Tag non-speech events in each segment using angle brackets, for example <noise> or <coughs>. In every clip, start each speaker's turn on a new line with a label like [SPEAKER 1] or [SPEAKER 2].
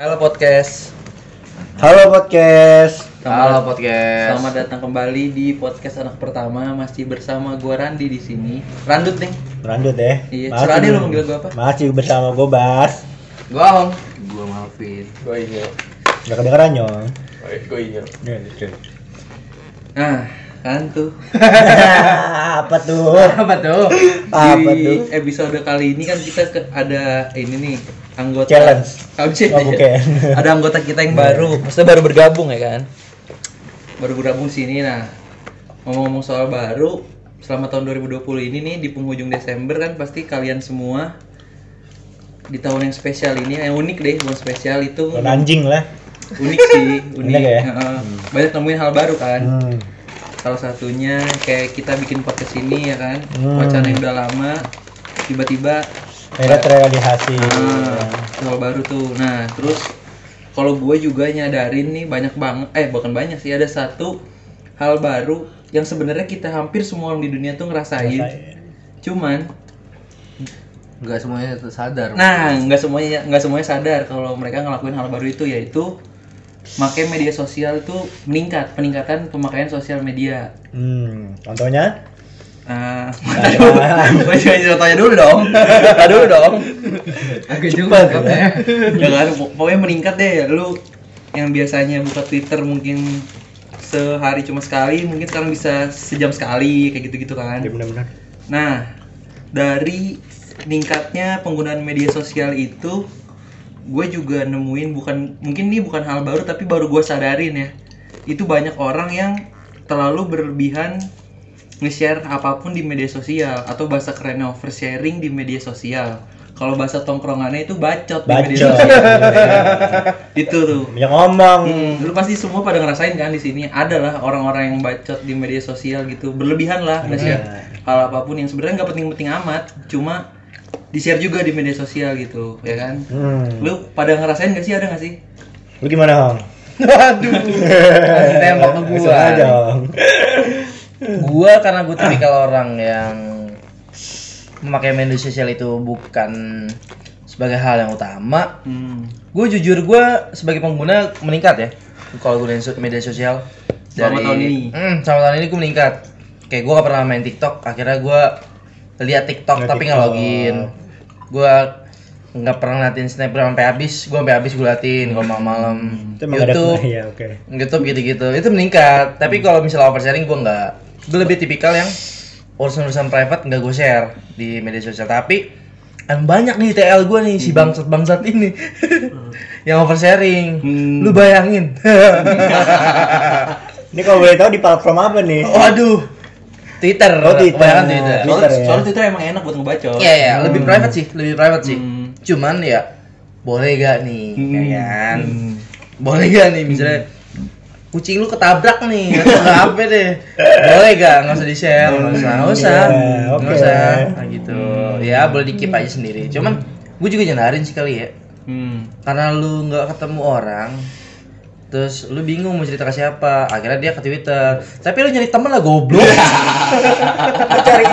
[SPEAKER 1] Halo podcast.
[SPEAKER 2] Halo podcast.
[SPEAKER 1] Halo podcast.
[SPEAKER 3] Selamat datang kembali di podcast anak pertama masih bersama gua Randi di sini. Randut nih.
[SPEAKER 2] Lanjut deh.
[SPEAKER 3] Iya, suruh Ade lu manggil gua apa?
[SPEAKER 2] ya. Masih bersama gue Bas.
[SPEAKER 1] Gua Hong.
[SPEAKER 3] Gua Malvin.
[SPEAKER 4] Gue inyo,
[SPEAKER 2] Gak kedengeran nyong.
[SPEAKER 4] gue inyo.
[SPEAKER 2] Ya, lucu.
[SPEAKER 3] Nah, kan tuh.
[SPEAKER 2] <laughs> apa tuh?
[SPEAKER 3] Apa tuh?
[SPEAKER 2] Apa
[SPEAKER 3] di
[SPEAKER 2] tuh?
[SPEAKER 3] episode kali ini kan kita ke- ada ini nih anggota
[SPEAKER 2] Challenge.
[SPEAKER 3] Oh, shit.
[SPEAKER 2] Oh, bukan.
[SPEAKER 3] <laughs> ada anggota kita yang baru
[SPEAKER 1] Iya. Maksudnya baru bergabung ya kan?
[SPEAKER 3] baru bergabung sini nah. Ngomong-ngomong soal baru, selama tahun 2020 ini nih di penghujung Desember kan pasti kalian semua di tahun yang spesial ini yang unik deh, bukan spesial itu
[SPEAKER 2] Lo anjing lah.
[SPEAKER 3] unik sih unik
[SPEAKER 2] Unik ya?
[SPEAKER 3] Heeh. banyak nemuin hal baru kan
[SPEAKER 2] Hmm.
[SPEAKER 3] salah satunya kayak kita bikin podcast ini ya kan
[SPEAKER 2] Hmm.
[SPEAKER 3] wacana yang udah lama tiba-tiba
[SPEAKER 2] Akhirnya terrealisasi.
[SPEAKER 3] ah, hal baru tuh nah terus kalau gue juga nyadarin nih banyak banget eh bukan banyak sih ada satu hal baru yang sebenarnya kita hampir semua orang di dunia tuh ngerasain cuman
[SPEAKER 1] Enggak semuanya sadar. <laughs>
[SPEAKER 3] Nah, nggak semuanya nggak semuanya sadar kalau mereka ngelakuin hal baru itu yaitu pakai media sosial itu meningkat peningkatan pemakaian sosial media.
[SPEAKER 2] Hmm. Contohnya?
[SPEAKER 3] Nah, <laughs> gue tanya dulu dong, tanya dulu dong.
[SPEAKER 1] agak cepat ya.
[SPEAKER 3] Ya kan, pok- pokoknya meningkat deh. Lu yang biasanya buka Twitter mungkin sehari cuma sekali, mungkin sekarang bisa sejam sekali kayak gitu-gitu kan.
[SPEAKER 2] Iya benar-benar.
[SPEAKER 3] Nah, dari meningkatnya penggunaan media sosial itu, gue juga nemuin bukan mungkin ini bukan hal baru tapi baru gue sadarin ya. Itu banyak orang yang terlalu berlebihan nge-share apapun di media sosial atau bahasa kerennya oversharing di media sosial. Kalau bahasa tongkrongannya itu bacot, di
[SPEAKER 2] Bacot.
[SPEAKER 3] media sosial. itu tuh.
[SPEAKER 2] <laughs> Banyak ngomong.
[SPEAKER 3] Hmm, lu pasti semua pada ngerasain kan di sini adalah orang-orang yang bacot di media sosial gitu berlebihan lah nge-share hal apapun yang sebenarnya nggak penting-penting amat cuma di share juga di media sosial gitu ya kan
[SPEAKER 2] Hmm.
[SPEAKER 3] lu pada ngerasain gak sih ada gak sih
[SPEAKER 2] Lu gimana, Hong?
[SPEAKER 1] Waduh. Kasih tembak ke
[SPEAKER 2] Langsung
[SPEAKER 1] gua.
[SPEAKER 2] aja, Hong.
[SPEAKER 1] Gua karena gua tipikal orang yang memakai media sosial itu bukan sebagai hal yang utama.
[SPEAKER 3] hmm.
[SPEAKER 1] Gue jujur gua sebagai pengguna meningkat ya. Kalau gunain so- media sosial
[SPEAKER 3] Selama tahun ini.
[SPEAKER 1] Hmm, selama tahun ini gue meningkat. Kayak gue gak pernah main TikTok, akhirnya gua lihat TikTok
[SPEAKER 2] Lihat
[SPEAKER 1] tapi nggak
[SPEAKER 2] TikTok.
[SPEAKER 1] login. Gua nggak pernah ngeliatin snapgram sampai habis, gua sampai habis gue liatin kalau malam-malam.
[SPEAKER 2] Itu emang ada <laughs>
[SPEAKER 1] YouTube,
[SPEAKER 2] ya, oke.
[SPEAKER 1] YouTube gitu-gitu. Itu meningkat. Tapi kalau misalnya oversharing gue nggak. Gue lebih tipikal yang urusan-urusan private nggak gue share di media sosial. Tapi emang banyak nih TL gue nih si bangsat-bangsat ini <laughs> yang oversharing.
[SPEAKER 3] Hmm.
[SPEAKER 1] Lu bayangin. <laughs>
[SPEAKER 2] Ini kalau boleh tahu di platform apa nih?
[SPEAKER 1] Waduh. Twitter.
[SPEAKER 2] Oh, Twitter.
[SPEAKER 1] Kebanyakan Twitter.
[SPEAKER 2] Twitter.
[SPEAKER 3] soalnya,
[SPEAKER 2] ya?
[SPEAKER 3] soalnya Twitter emang enak buat ngebacot
[SPEAKER 1] Iya, iya, lebih private sih, lebih private sih.
[SPEAKER 3] Hmm.
[SPEAKER 1] Cuman ya boleh gak nih,
[SPEAKER 3] Hmm.
[SPEAKER 1] ya kan?
[SPEAKER 3] Hmm.
[SPEAKER 1] Boleh gak nih misalnya kucing lu ketabrak nih atau nggak apa deh boleh gak nggak usah di share nggak usah nggak usah
[SPEAKER 2] Iya,
[SPEAKER 1] nggak
[SPEAKER 2] oke.
[SPEAKER 1] usah nah, gitu ya boleh di keep aja sendiri cuman gue juga nyendarin sih kali ya
[SPEAKER 3] hmm.
[SPEAKER 1] karena lu nggak ketemu orang terus lu bingung mau cerita ke siapa akhirnya dia ke twitter tapi lu nyari temen lah goblok
[SPEAKER 2] Cari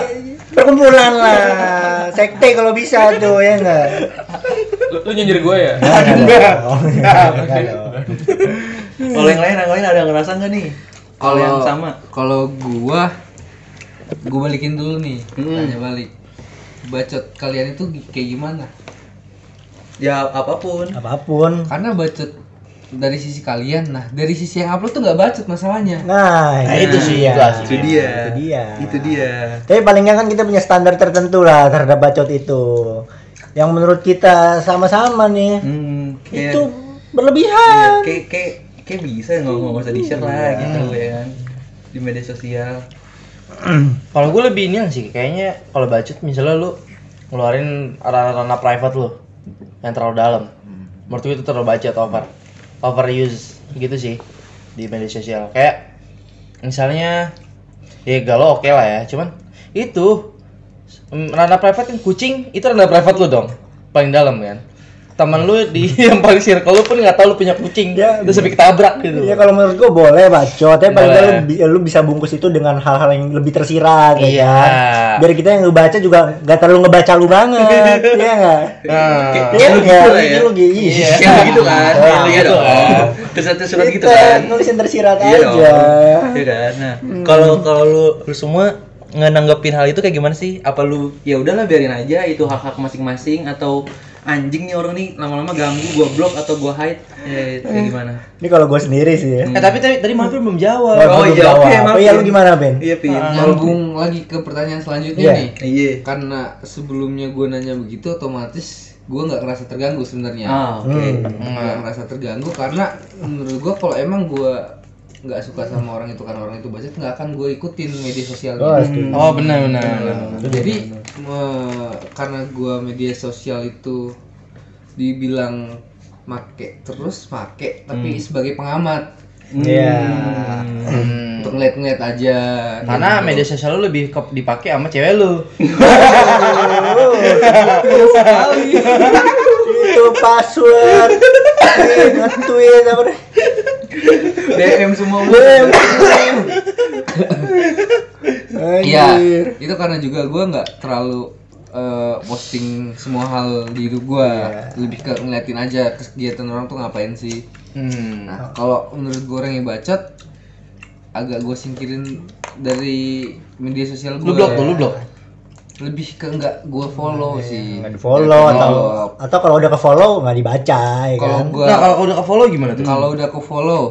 [SPEAKER 2] perkumpulan lah. Sekte kalau bisa tuh ya enggak?
[SPEAKER 4] Lu, lu nyindir gue ya?
[SPEAKER 2] Enggak. Enggak. Hmm.
[SPEAKER 3] kalau yang lain yang lain ada ngerasa nggak nih kalau yang sama
[SPEAKER 5] kalau gua gua balikin dulu nih tanya balik bacot kalian itu gi- kayak gimana
[SPEAKER 3] ya apapun
[SPEAKER 2] Apapun.
[SPEAKER 5] karena bacot dari sisi kalian nah dari sisi yang upload tuh nggak bacot masalahnya
[SPEAKER 2] Nah, itu sih ya.
[SPEAKER 3] itu
[SPEAKER 2] Itu
[SPEAKER 3] dia
[SPEAKER 2] dia.
[SPEAKER 3] itu dia
[SPEAKER 2] Tapi palingnya kan kita punya standar tertentu lah terhadap bacot itu. Yang menurut kita sama-sama nih.
[SPEAKER 3] hmm, kayak-
[SPEAKER 2] Itu berlebihan.
[SPEAKER 3] Iya, kayak kayak kayak bisa nggak nggak usah di share lah
[SPEAKER 2] Iya.
[SPEAKER 3] gitu ya kan di media sosial
[SPEAKER 1] Kalau gue lebih ini sih, kayaknya kalau budget misalnya lu ngeluarin ranah-ranah private lu yang terlalu dalam. Menurut gue itu terlalu budget over. Overuse gitu sih di media sosial. Kayak misalnya ya galau oke lah ya, cuman itu mm, ranah private kan kucing itu ranah private lu dong. Paling dalam kan. teman lu di <laughs> yang paling circle lu pun nggak tahu lu punya kucing
[SPEAKER 2] Ya.
[SPEAKER 1] terus sampai ketabrak gitu
[SPEAKER 2] Ya kalau menurut gua boleh bacot, tapi paling
[SPEAKER 1] Boleh.
[SPEAKER 2] nggak lu, bi- lu bisa bungkus itu dengan hal-hal yang lebih tersirat ya
[SPEAKER 1] Iya.
[SPEAKER 2] kan. Biar kita yang ngebaca juga nggak terlalu ngebaca lu
[SPEAKER 3] <laughs>
[SPEAKER 2] banget. Iya enggak?
[SPEAKER 1] nah,
[SPEAKER 3] Kayak-
[SPEAKER 2] Iya
[SPEAKER 3] kayak lu
[SPEAKER 2] enggak?
[SPEAKER 3] gitu lah ya.
[SPEAKER 2] Lu gitu. Iya.
[SPEAKER 3] Kayak begitu kan,
[SPEAKER 2] Iya,
[SPEAKER 3] kayak lu gitu
[SPEAKER 1] gitu
[SPEAKER 3] kan. Terus satu surat gitu
[SPEAKER 2] Kita
[SPEAKER 3] kan.
[SPEAKER 2] nulis yang tersirat
[SPEAKER 3] Iya dong.
[SPEAKER 2] aja.
[SPEAKER 3] Iya kan. Nah,
[SPEAKER 1] Hmm.
[SPEAKER 3] kalau kalau lu, lu semua ngenanggepin hal itu kayak gimana sih? Apa lu ya udahlah biarin aja itu hak-hak masing-masing atau anjing nih orang nih lama-lama ganggu gua blok atau gua hide ya, kayak gimana?
[SPEAKER 2] Ini kalau gua sendiri sih ya.
[SPEAKER 1] eh, tapi tadi tadi Mahfil belum jawab
[SPEAKER 2] Gua- gua
[SPEAKER 3] Oh,
[SPEAKER 2] belum
[SPEAKER 3] iya,
[SPEAKER 2] jawab.
[SPEAKER 3] oke, maaf,
[SPEAKER 2] Oh iya
[SPEAKER 3] Vin.
[SPEAKER 2] lu gimana Ben?
[SPEAKER 3] Iya, Pin.
[SPEAKER 5] Nyambung lagi ke pertanyaan selanjutnya
[SPEAKER 2] Iya.
[SPEAKER 5] nih.
[SPEAKER 3] Iya.
[SPEAKER 5] Karena sebelumnya gue nanya begitu otomatis gue nggak ngerasa terganggu sebenarnya.
[SPEAKER 3] Ah, oke.
[SPEAKER 2] Hmm.
[SPEAKER 5] Nggak ngerasa terganggu karena menurut gue kalau emang gue nggak suka sama orang itu karena orang itu budget nggak akan gue ikutin media sosialnya. Hmm.
[SPEAKER 2] Oh, setuju.
[SPEAKER 1] oh benar benar
[SPEAKER 3] Hmm.
[SPEAKER 1] benar.
[SPEAKER 5] Jadi me- karena gua media sosial itu dibilang make terus make tapi sebagai pengamat
[SPEAKER 2] Hmm. Iya.
[SPEAKER 1] Hmm.
[SPEAKER 5] untuk ngeliat-ngeliat
[SPEAKER 2] <laughs>
[SPEAKER 5] aja.
[SPEAKER 1] karena media sosial lu lebih ke- dipakai sama cewek lu
[SPEAKER 2] Oh, iya. Itu password. Tweet, Nge-tweet apa deh?
[SPEAKER 3] DM semua lu.
[SPEAKER 2] Bem.
[SPEAKER 5] Iya,
[SPEAKER 2] Anjir.
[SPEAKER 5] itu karena juga gua nggak terlalu eh, posting semua hal di hidup gua
[SPEAKER 2] Iya.
[SPEAKER 5] lebih ke ngeliatin aja kegiatan orang tuh ngapain sih.
[SPEAKER 1] hmm.
[SPEAKER 5] Nah, kalau menurut gue orang yang bacot agak gue singkirin dari media sosial gue.
[SPEAKER 1] lu blok lu blok
[SPEAKER 5] Lebih ke enggak gue follow sih.
[SPEAKER 2] Iya, nggak di follow
[SPEAKER 5] Nggak
[SPEAKER 2] atau
[SPEAKER 5] di-follow.
[SPEAKER 2] atau kalau udah ke follow nggak dibaca ya
[SPEAKER 5] kalau
[SPEAKER 2] kan
[SPEAKER 5] gua
[SPEAKER 1] nah kalau udah ke follow gimana tuh
[SPEAKER 5] kalau udah ke follow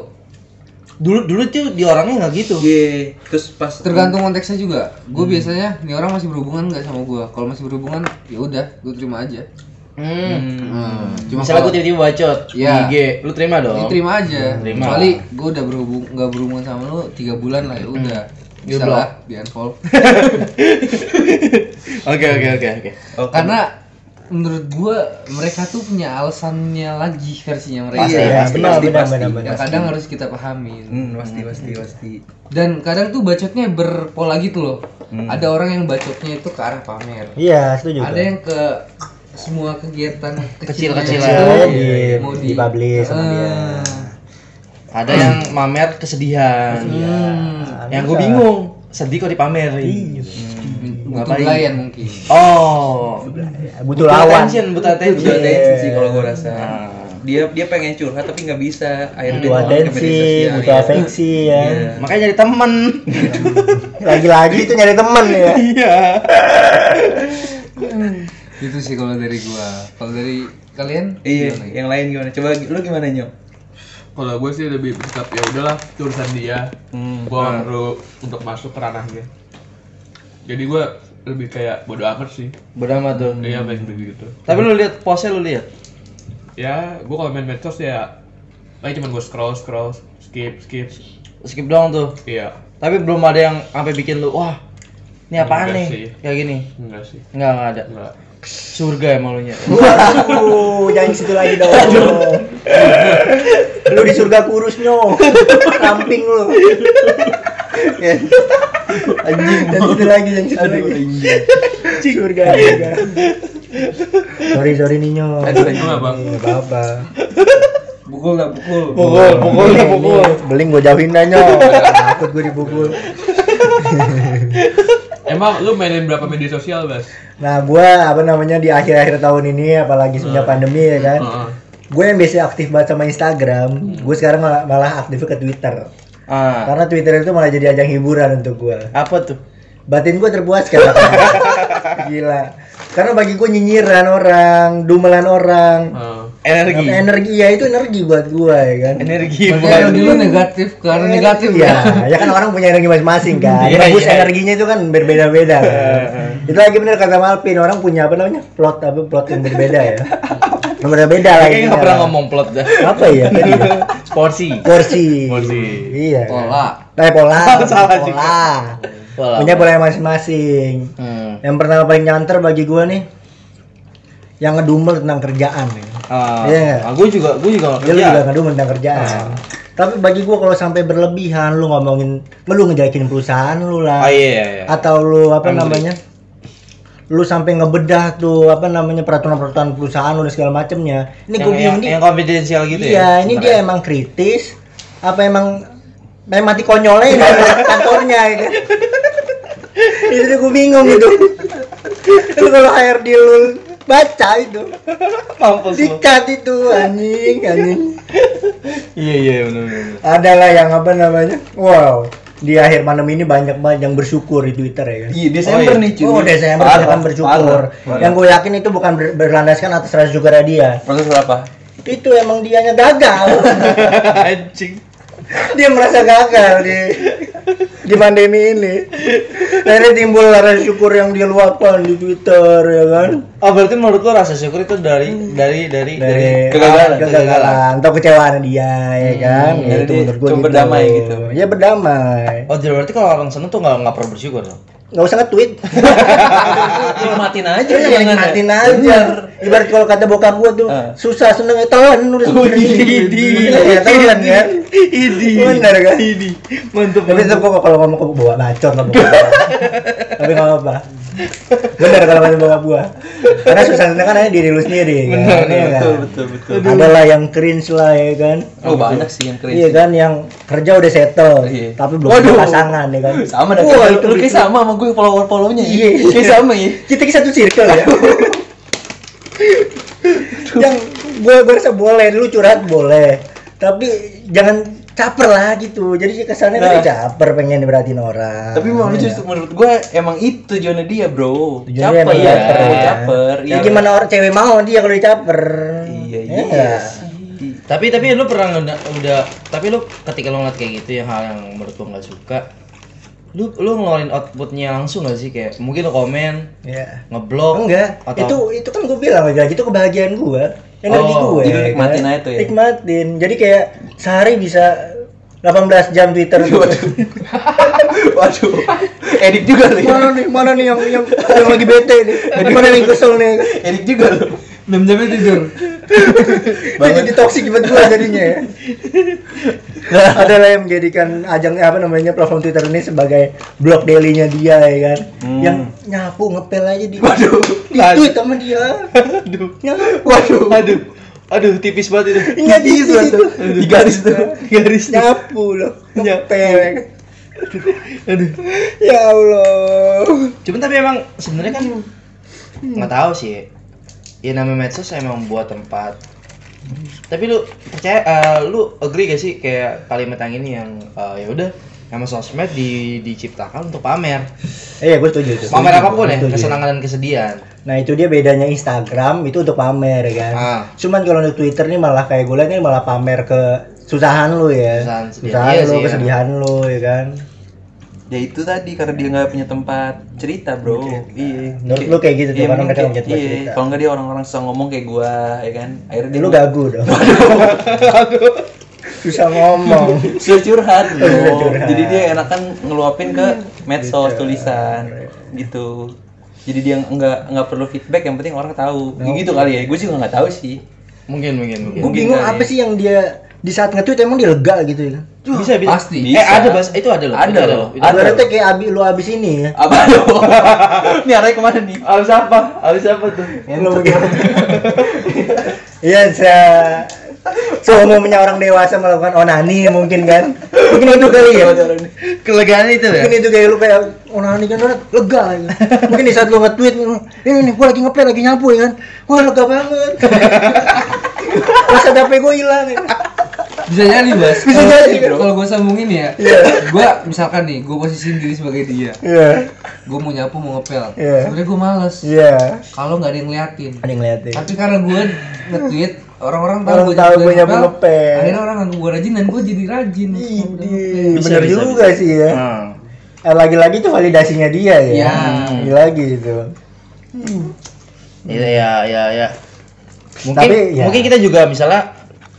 [SPEAKER 1] dulu dulu tuh di orangnya nggak gitu
[SPEAKER 3] Iya. Terus pas
[SPEAKER 5] tergantung konteksnya juga. Gue
[SPEAKER 2] Hmm.
[SPEAKER 5] biasanya nih orang masih berhubungan nggak sama gue. Kalau masih berhubungan ya udah gue terima aja.
[SPEAKER 1] hmm.
[SPEAKER 5] Hmm. Cuma
[SPEAKER 1] misalnya
[SPEAKER 5] kalau-
[SPEAKER 1] gue tiba-tiba bacot
[SPEAKER 5] Iya.
[SPEAKER 1] di IG lu terima
[SPEAKER 5] Ya,
[SPEAKER 1] dong
[SPEAKER 5] terima aja.
[SPEAKER 1] Terima.
[SPEAKER 5] Kecuali gue udah berhubung nggak berhubungan sama lu tiga bulan lah ya udah.
[SPEAKER 1] Ya
[SPEAKER 5] Bisa
[SPEAKER 1] blok.
[SPEAKER 5] lah di unfollow.
[SPEAKER 1] oke oke oke oke
[SPEAKER 5] Karena menurut gue mereka tuh punya alasannya lagi versinya mereka.
[SPEAKER 3] Pasti,
[SPEAKER 2] Iya,
[SPEAKER 3] pasti,
[SPEAKER 2] benar, benar,
[SPEAKER 3] pasti, pasti.
[SPEAKER 2] benar, benar.
[SPEAKER 5] Yang kadang harus kita pahami.
[SPEAKER 3] Hmm, pasti, pasti, pasti.
[SPEAKER 5] Dan kadang tuh bacotnya berpola gitu loh. Ada orang yang bacotnya itu ke arah pamer.
[SPEAKER 2] iya setuju
[SPEAKER 5] Ada yang ke semua kegiatan kecilnya.
[SPEAKER 1] Kecil-kecilan.
[SPEAKER 2] Iya, di-
[SPEAKER 5] Iya, Ah. mau
[SPEAKER 2] di publish sama dia.
[SPEAKER 1] ada yang mamer kesedihan
[SPEAKER 2] Hmm.
[SPEAKER 1] yang gue bingung sedih kok dipamerin gitu.
[SPEAKER 5] Butuh
[SPEAKER 1] Ngapain?
[SPEAKER 5] belayan mungkin.
[SPEAKER 1] oh
[SPEAKER 2] Ya, butuh lawan
[SPEAKER 1] attention Iya, butuh
[SPEAKER 2] Iya.
[SPEAKER 3] Butuh
[SPEAKER 1] attention
[SPEAKER 3] attention sih kalau gua rasa.
[SPEAKER 2] Ah.
[SPEAKER 3] Dia dia pengen curhat tapi nggak bisa. Akhirnya dia
[SPEAKER 2] butuh
[SPEAKER 3] ngomong ke media
[SPEAKER 2] atensi
[SPEAKER 3] sosial,
[SPEAKER 2] butuh
[SPEAKER 3] iya.
[SPEAKER 2] afeksi ya
[SPEAKER 3] Iya.
[SPEAKER 1] makanya jadi
[SPEAKER 2] <laughs>
[SPEAKER 1] temen
[SPEAKER 2] lagi-lagi itu nyari temen ya
[SPEAKER 1] iya
[SPEAKER 5] Itu Gitu sih kalau dari gua. Kalau dari kalian?
[SPEAKER 3] Iya,
[SPEAKER 5] gimana?
[SPEAKER 3] yang lain gimana? Coba lu gimana, Nyok?
[SPEAKER 4] Kalau gue sih lebih bersikap ya udahlah, itu urusan dia. Gue nggak perlu untuk masuk ke ranahnya. Jadi gue lebih kayak bodo amat sih.
[SPEAKER 1] berdama tuh
[SPEAKER 4] Iya, main begitu.
[SPEAKER 1] tapi lu lihat pose lu lihat
[SPEAKER 4] Ya, gue kalau main medsos ya, kayak cuman gue scroll, scroll, skip, skip.
[SPEAKER 1] skip doang tuh
[SPEAKER 4] Iya,
[SPEAKER 1] tapi belum ada yang sampai bikin lu wah ini apaan
[SPEAKER 4] Enggak
[SPEAKER 1] nih
[SPEAKER 4] sih.
[SPEAKER 1] kayak gini
[SPEAKER 4] enggak sih,
[SPEAKER 1] enggak enggak ada
[SPEAKER 4] enggak.
[SPEAKER 1] surga emang lu nya
[SPEAKER 2] Waduh, jangan situ lagi dong lu di surga kurus nyok ramping lu anjing jangan situ lagi jangan situ lagi surga surga sorry sorry nih nyok
[SPEAKER 4] Enggak, Bang.
[SPEAKER 2] Iya, apa-apa
[SPEAKER 3] Pukul lah, pukul.
[SPEAKER 2] pukul pukul nih pukul beling gua jauhin dah nyok takut gua dipukul
[SPEAKER 4] Emang lu mainin berapa media sosial, Bas?
[SPEAKER 2] Nah, gua apa namanya di akhir-akhir tahun ini apalagi semenjak pandemi ya kan.
[SPEAKER 4] Heeh.
[SPEAKER 2] Gue yang biasanya aktif banget sama
[SPEAKER 1] Hmm.
[SPEAKER 2] Instagram, gue sekarang malah, malah aktif ke Twitter.
[SPEAKER 1] ah
[SPEAKER 2] Karena Twitter itu malah jadi ajang hiburan untuk gua.
[SPEAKER 1] apa tuh
[SPEAKER 2] Batin gue terpuaskan.
[SPEAKER 1] <laughs>
[SPEAKER 2] Pak. Gila. Karena bagi gue nyinyiran orang, dumelan orang,
[SPEAKER 4] Heeh.
[SPEAKER 1] energi
[SPEAKER 2] energi ya itu energi buat gua ya kan.
[SPEAKER 1] energi
[SPEAKER 5] Berarti yang dulu negatif karena negatif
[SPEAKER 2] ya.
[SPEAKER 5] ya.
[SPEAKER 2] ya kan orang punya energi masing-masing kan.
[SPEAKER 1] Iya,
[SPEAKER 2] Rebus
[SPEAKER 1] iya.
[SPEAKER 2] energinya itu kan berbeda-beda. kan. itu lagi bener kata Malpin, orang punya apa namanya? plot apa plot yang berbeda ya. Yang berbeda
[SPEAKER 1] kayaknya
[SPEAKER 2] lah
[SPEAKER 1] nggak
[SPEAKER 2] intinya
[SPEAKER 1] pernah
[SPEAKER 2] lah.
[SPEAKER 1] ngomong plot dah
[SPEAKER 2] Apa ya? Tadi ya?
[SPEAKER 1] porsi
[SPEAKER 2] Porsi.
[SPEAKER 4] Porsi.
[SPEAKER 2] Iya. Pola.
[SPEAKER 5] Pola.
[SPEAKER 2] Eh, pola.
[SPEAKER 1] <laughs> Salah juga.
[SPEAKER 2] pola.
[SPEAKER 1] Pola.
[SPEAKER 2] Punya pola yang masing-masing.
[SPEAKER 1] hmm.
[SPEAKER 2] Yang pertama paling nyanter bagi gua nih yang ngedumel tentang kerjaan ya.
[SPEAKER 1] Ah,
[SPEAKER 2] Iya.
[SPEAKER 1] ah, gue juga, gue juga nggak
[SPEAKER 2] Ya, lu
[SPEAKER 1] kerja.
[SPEAKER 2] juga ngedumel tentang kerjaan.
[SPEAKER 1] Ah.
[SPEAKER 2] Tapi bagi gua kalau sampai berlebihan lu
[SPEAKER 1] iya.
[SPEAKER 2] ngomongin lu ngejelekin perusahaan lu lah.
[SPEAKER 1] Ah iya, iya, iya.
[SPEAKER 2] atau lu apa namanya lu sampai ngebedah tuh apa namanya peraturan-peraturan perusahaan lu dan segala macemnya ini gue
[SPEAKER 1] yang, yang,
[SPEAKER 2] bingung nih
[SPEAKER 1] yang konfidensial gitu ya
[SPEAKER 2] iya, ini dia emang kritis apa emang memang mati konyolnya ini kantornya ya kan? itu tuh gue bingung itu itu kalau HRD lu baca itu
[SPEAKER 1] <laughs>
[SPEAKER 2] <laughs>
[SPEAKER 1] mampus lu
[SPEAKER 2] dicat itu anjing anjing
[SPEAKER 1] iya iya benar benar
[SPEAKER 2] adalah yang apa namanya wow di akhir malam ini banyak banget yang bersyukur di Twitter ya kan
[SPEAKER 3] Iya, Desember
[SPEAKER 1] Oh, iya.
[SPEAKER 3] nih cuy.
[SPEAKER 2] Oh, Desember
[SPEAKER 3] Parah,
[SPEAKER 2] akan bersyukur.
[SPEAKER 3] parah, parah.
[SPEAKER 2] Yang gue yakin itu bukan ber- berlandaskan atas rasa juga dia.
[SPEAKER 3] proses apa?
[SPEAKER 2] Itu emang dianya gagal. <laughs>
[SPEAKER 1] anjing
[SPEAKER 2] dia merasa gagal di di pandemi ini. Dari timbul rasa syukur yang dia luapkan di Twitter ya kan.
[SPEAKER 1] oh berarti menurut lo rasa syukur itu dari dari dari dari
[SPEAKER 2] Dari
[SPEAKER 3] Hmm. ah, kegagalan.
[SPEAKER 2] kegagalan atau kecewaan dia ya kan.
[SPEAKER 3] Hmm,
[SPEAKER 2] Ya,
[SPEAKER 3] jadi
[SPEAKER 2] itu
[SPEAKER 3] dia
[SPEAKER 2] menurut gue
[SPEAKER 3] coba
[SPEAKER 2] gitu.
[SPEAKER 3] berdamai gitu.
[SPEAKER 2] Ya berdamai.
[SPEAKER 1] oh jadi berarti kalau orang seneng tuh nggak nggak perlu bersyukur dong
[SPEAKER 2] Nggak usah
[SPEAKER 3] <laughs>
[SPEAKER 2] nge-tweet.
[SPEAKER 3] Nikmatin aja
[SPEAKER 2] Iya,
[SPEAKER 3] jangan
[SPEAKER 2] nikmatin aja. Ibarat kalau kata bokap gua tuh,
[SPEAKER 3] Ah. Oh,
[SPEAKER 2] susah seneng ya telan udah Iya, telan ya.
[SPEAKER 3] iya.
[SPEAKER 1] idi
[SPEAKER 2] Bener kan?
[SPEAKER 1] idi mantep
[SPEAKER 2] Tapi tetap gua kalau ngomong ke bawa bacot lah bokap gua. Tapi enggak apa-apa. Bener kalau kata bokap gua. Karena susah seneng kan hanya diri lu sendiri. kan?
[SPEAKER 1] Bener,
[SPEAKER 2] Iya kan?
[SPEAKER 3] Betul, betul, betul.
[SPEAKER 2] Adalah yang cringe lah ya kan.
[SPEAKER 3] Oh, banyak sih yang cringe.
[SPEAKER 2] Iya kan yang kerja udah settle,
[SPEAKER 3] Iya.
[SPEAKER 2] tapi belum
[SPEAKER 3] Waduh.
[SPEAKER 2] punya pasangan ya kan.
[SPEAKER 3] Sama dah.
[SPEAKER 2] Wah,
[SPEAKER 3] kayak-
[SPEAKER 2] itu
[SPEAKER 3] lu kayak sama sama gue follower-followernya ya.
[SPEAKER 2] gitu. Iya.
[SPEAKER 3] Kayak sama ya.
[SPEAKER 2] kita kayak satu circle ya yang gue berasa boleh lu curhat boleh tapi jangan caper lah gitu jadi sih kesannya
[SPEAKER 3] Nah.
[SPEAKER 2] kan dia caper pengen diperhatiin orang
[SPEAKER 3] Tapi emang
[SPEAKER 2] Iya.
[SPEAKER 3] lucu sih, menurut gue emang itu tujuannya dia, Bro.
[SPEAKER 2] Tujuannya
[SPEAKER 3] Caper
[SPEAKER 2] emang
[SPEAKER 3] ya,
[SPEAKER 2] caper,
[SPEAKER 3] mau
[SPEAKER 2] ya.
[SPEAKER 3] caper.
[SPEAKER 2] ya gimana orang cewek mau dia kalau dicaper Ya
[SPEAKER 3] Iya, iya.
[SPEAKER 2] nggak?
[SPEAKER 3] Di-
[SPEAKER 1] tapi tapi lu pernah udah, udah tapi lu ketika lu ngeliat kayak gitu yang hal yang menurut gua nggak suka lu lu ngeluarin outputnya langsung gak sih kayak mungkin lu komen
[SPEAKER 2] Iya.
[SPEAKER 1] ngeblok
[SPEAKER 2] enggak
[SPEAKER 1] atau
[SPEAKER 2] itu itu kan gue bilang gaji itu kebahagiaan gue energi
[SPEAKER 1] Oh,
[SPEAKER 2] gue
[SPEAKER 3] jadi lu nikmatin
[SPEAKER 2] kan?
[SPEAKER 3] aja tuh ya?
[SPEAKER 2] nikmatin jadi kayak sehari bisa 18 jam Twitter
[SPEAKER 3] <laughs>
[SPEAKER 2] tuh.
[SPEAKER 3] Waduh. Edit juga lu ya.
[SPEAKER 2] mana nih mana nih yang yang, yang lagi bete nih mana nih kesel nih
[SPEAKER 3] Edit juga lu.
[SPEAKER 5] enam jamnya tidur
[SPEAKER 2] <laughs> itu jadi toksik buat gua jadinya ya adalah yang menjadikan ajang apa namanya platform Twitter ini sebagai blog dailynya dia ya kan
[SPEAKER 3] Hmm.
[SPEAKER 2] yang nyapu ngepel aja di
[SPEAKER 3] Waduh.
[SPEAKER 2] di tweet sama dia
[SPEAKER 1] aduh
[SPEAKER 2] nyapu
[SPEAKER 3] Waduh.
[SPEAKER 1] aduh aduh tipis banget itu
[SPEAKER 2] ingat di
[SPEAKER 3] Iya,
[SPEAKER 2] situ
[SPEAKER 3] tuh. Di garis tuh.
[SPEAKER 1] garisnya
[SPEAKER 2] nyapu loh ngepel ya kan.
[SPEAKER 1] aduh
[SPEAKER 2] ya Allah
[SPEAKER 1] cuman tapi emang sebenarnya kan nggak tahu sih ya namanya medsos emang buat tempat tapi lu percaya eh, lu agree gak sih kayak kalimat yang ini yang eh, ya udah emang sosmed di, diciptakan untuk pamer
[SPEAKER 2] iya gue setuju itu
[SPEAKER 1] pamer apapun ya
[SPEAKER 2] Setuju.
[SPEAKER 1] kesenangan dan kesedihan
[SPEAKER 2] Nah itu dia bedanya Instagram itu untuk pamer kan.
[SPEAKER 1] Ah.
[SPEAKER 2] Cuman kalau untuk Twitter nih malah kayak gue liat nih malah pamer ke susahan lu ya.
[SPEAKER 1] Susahan, sedih.
[SPEAKER 2] Susahan
[SPEAKER 1] Iya
[SPEAKER 2] lu,
[SPEAKER 1] sih, ya.
[SPEAKER 2] kesedihan lu ya kan.
[SPEAKER 3] Ya itu tadi karena dia nggak punya tempat cerita, Bro. Iya.
[SPEAKER 2] Menurut lu kayak gitu tuh,
[SPEAKER 3] Iya,
[SPEAKER 2] karena
[SPEAKER 3] mungkin
[SPEAKER 2] mereka
[SPEAKER 3] kayak-
[SPEAKER 2] nggak punya tempat
[SPEAKER 3] iya,
[SPEAKER 2] cerita.
[SPEAKER 3] Kalau nggak dia orang-orang suka ngomong kayak gua, ya kan. Akhirnya dia
[SPEAKER 2] Lu gagu dong. Susah ngomong.
[SPEAKER 3] sudah
[SPEAKER 2] <laughs>
[SPEAKER 3] curhat bro.
[SPEAKER 2] Sudah curhat. Iya.
[SPEAKER 3] jadi dia enakan kan ngeluapin ke medsos tulisan gitu jadi dia nggak nggak perlu feedback yang penting orang tahu Ya gitu kali ya gue juga nggak tahu sih
[SPEAKER 1] mungkin mungkin mungkin
[SPEAKER 2] Gue
[SPEAKER 3] Mungkin
[SPEAKER 2] bingung
[SPEAKER 3] kali
[SPEAKER 2] apa
[SPEAKER 3] ya.
[SPEAKER 2] sih yang dia di saat nge-tweet emang dia lega gitu ya.
[SPEAKER 1] bisa bisa
[SPEAKER 5] Pasti.
[SPEAKER 1] eh
[SPEAKER 3] Bisa.
[SPEAKER 1] ada bahas itu ada loh
[SPEAKER 3] Ada
[SPEAKER 1] itu
[SPEAKER 3] loh.
[SPEAKER 1] loh. Itu-
[SPEAKER 3] Ada.
[SPEAKER 2] Ibaratnya kayak abi, lu abis ini ya. <laughs>
[SPEAKER 3] apa dong ini arahnya kemana nih
[SPEAKER 1] Abis apa? Abis apa tuh?
[SPEAKER 2] Lu begini. <laughs> Iya, se seumumnya orang dewasa melakukan onani mungkin kan. Mungkin itu kali ya.
[SPEAKER 1] Kelegaan itu ya?
[SPEAKER 2] Mungkin itu kayak lu kayak onani kan orang lega ya. Mungkin di saat lu nge-tweet ini nih gua lagi ngepel lagi nyapu ya kan. Wah lega banget. <laughs> Masa HP gua hilang. ya.
[SPEAKER 5] bisa jadi bas
[SPEAKER 2] Bisa
[SPEAKER 5] Kalau-
[SPEAKER 2] jadi, bro.
[SPEAKER 5] kalau gue sambungin ya
[SPEAKER 2] Iya.
[SPEAKER 5] gue misalkan nih gue posisiin diri sebagai dia
[SPEAKER 2] Iya.
[SPEAKER 5] gue mau nyapu mau ngepel
[SPEAKER 2] Iya.
[SPEAKER 5] sebenarnya gue males
[SPEAKER 2] Iya.
[SPEAKER 5] kalau nggak ada yang ngeliatin
[SPEAKER 2] Ada yang ya? ngeliatin.
[SPEAKER 5] tapi karena gue nge-tweet orang-orang tahu
[SPEAKER 2] Orang
[SPEAKER 5] gue
[SPEAKER 2] tahu
[SPEAKER 5] nyapu
[SPEAKER 2] gua nyapu
[SPEAKER 5] ngepel,
[SPEAKER 2] ngepel.
[SPEAKER 5] akhirnya orang nganggap gue rajin dan gue jadi rajin
[SPEAKER 2] Idih,
[SPEAKER 1] Iya. Bisa,
[SPEAKER 2] bener
[SPEAKER 1] bisa,
[SPEAKER 2] juga sih ya.
[SPEAKER 1] Hmm.
[SPEAKER 2] Eh, Lagi-lagi itu validasinya dia ya.
[SPEAKER 5] Iya.
[SPEAKER 2] Lagi-lagi itu.
[SPEAKER 1] Iya ya ya ya. Mungkin
[SPEAKER 2] Tapi, ya.
[SPEAKER 1] mungkin kita juga misalnya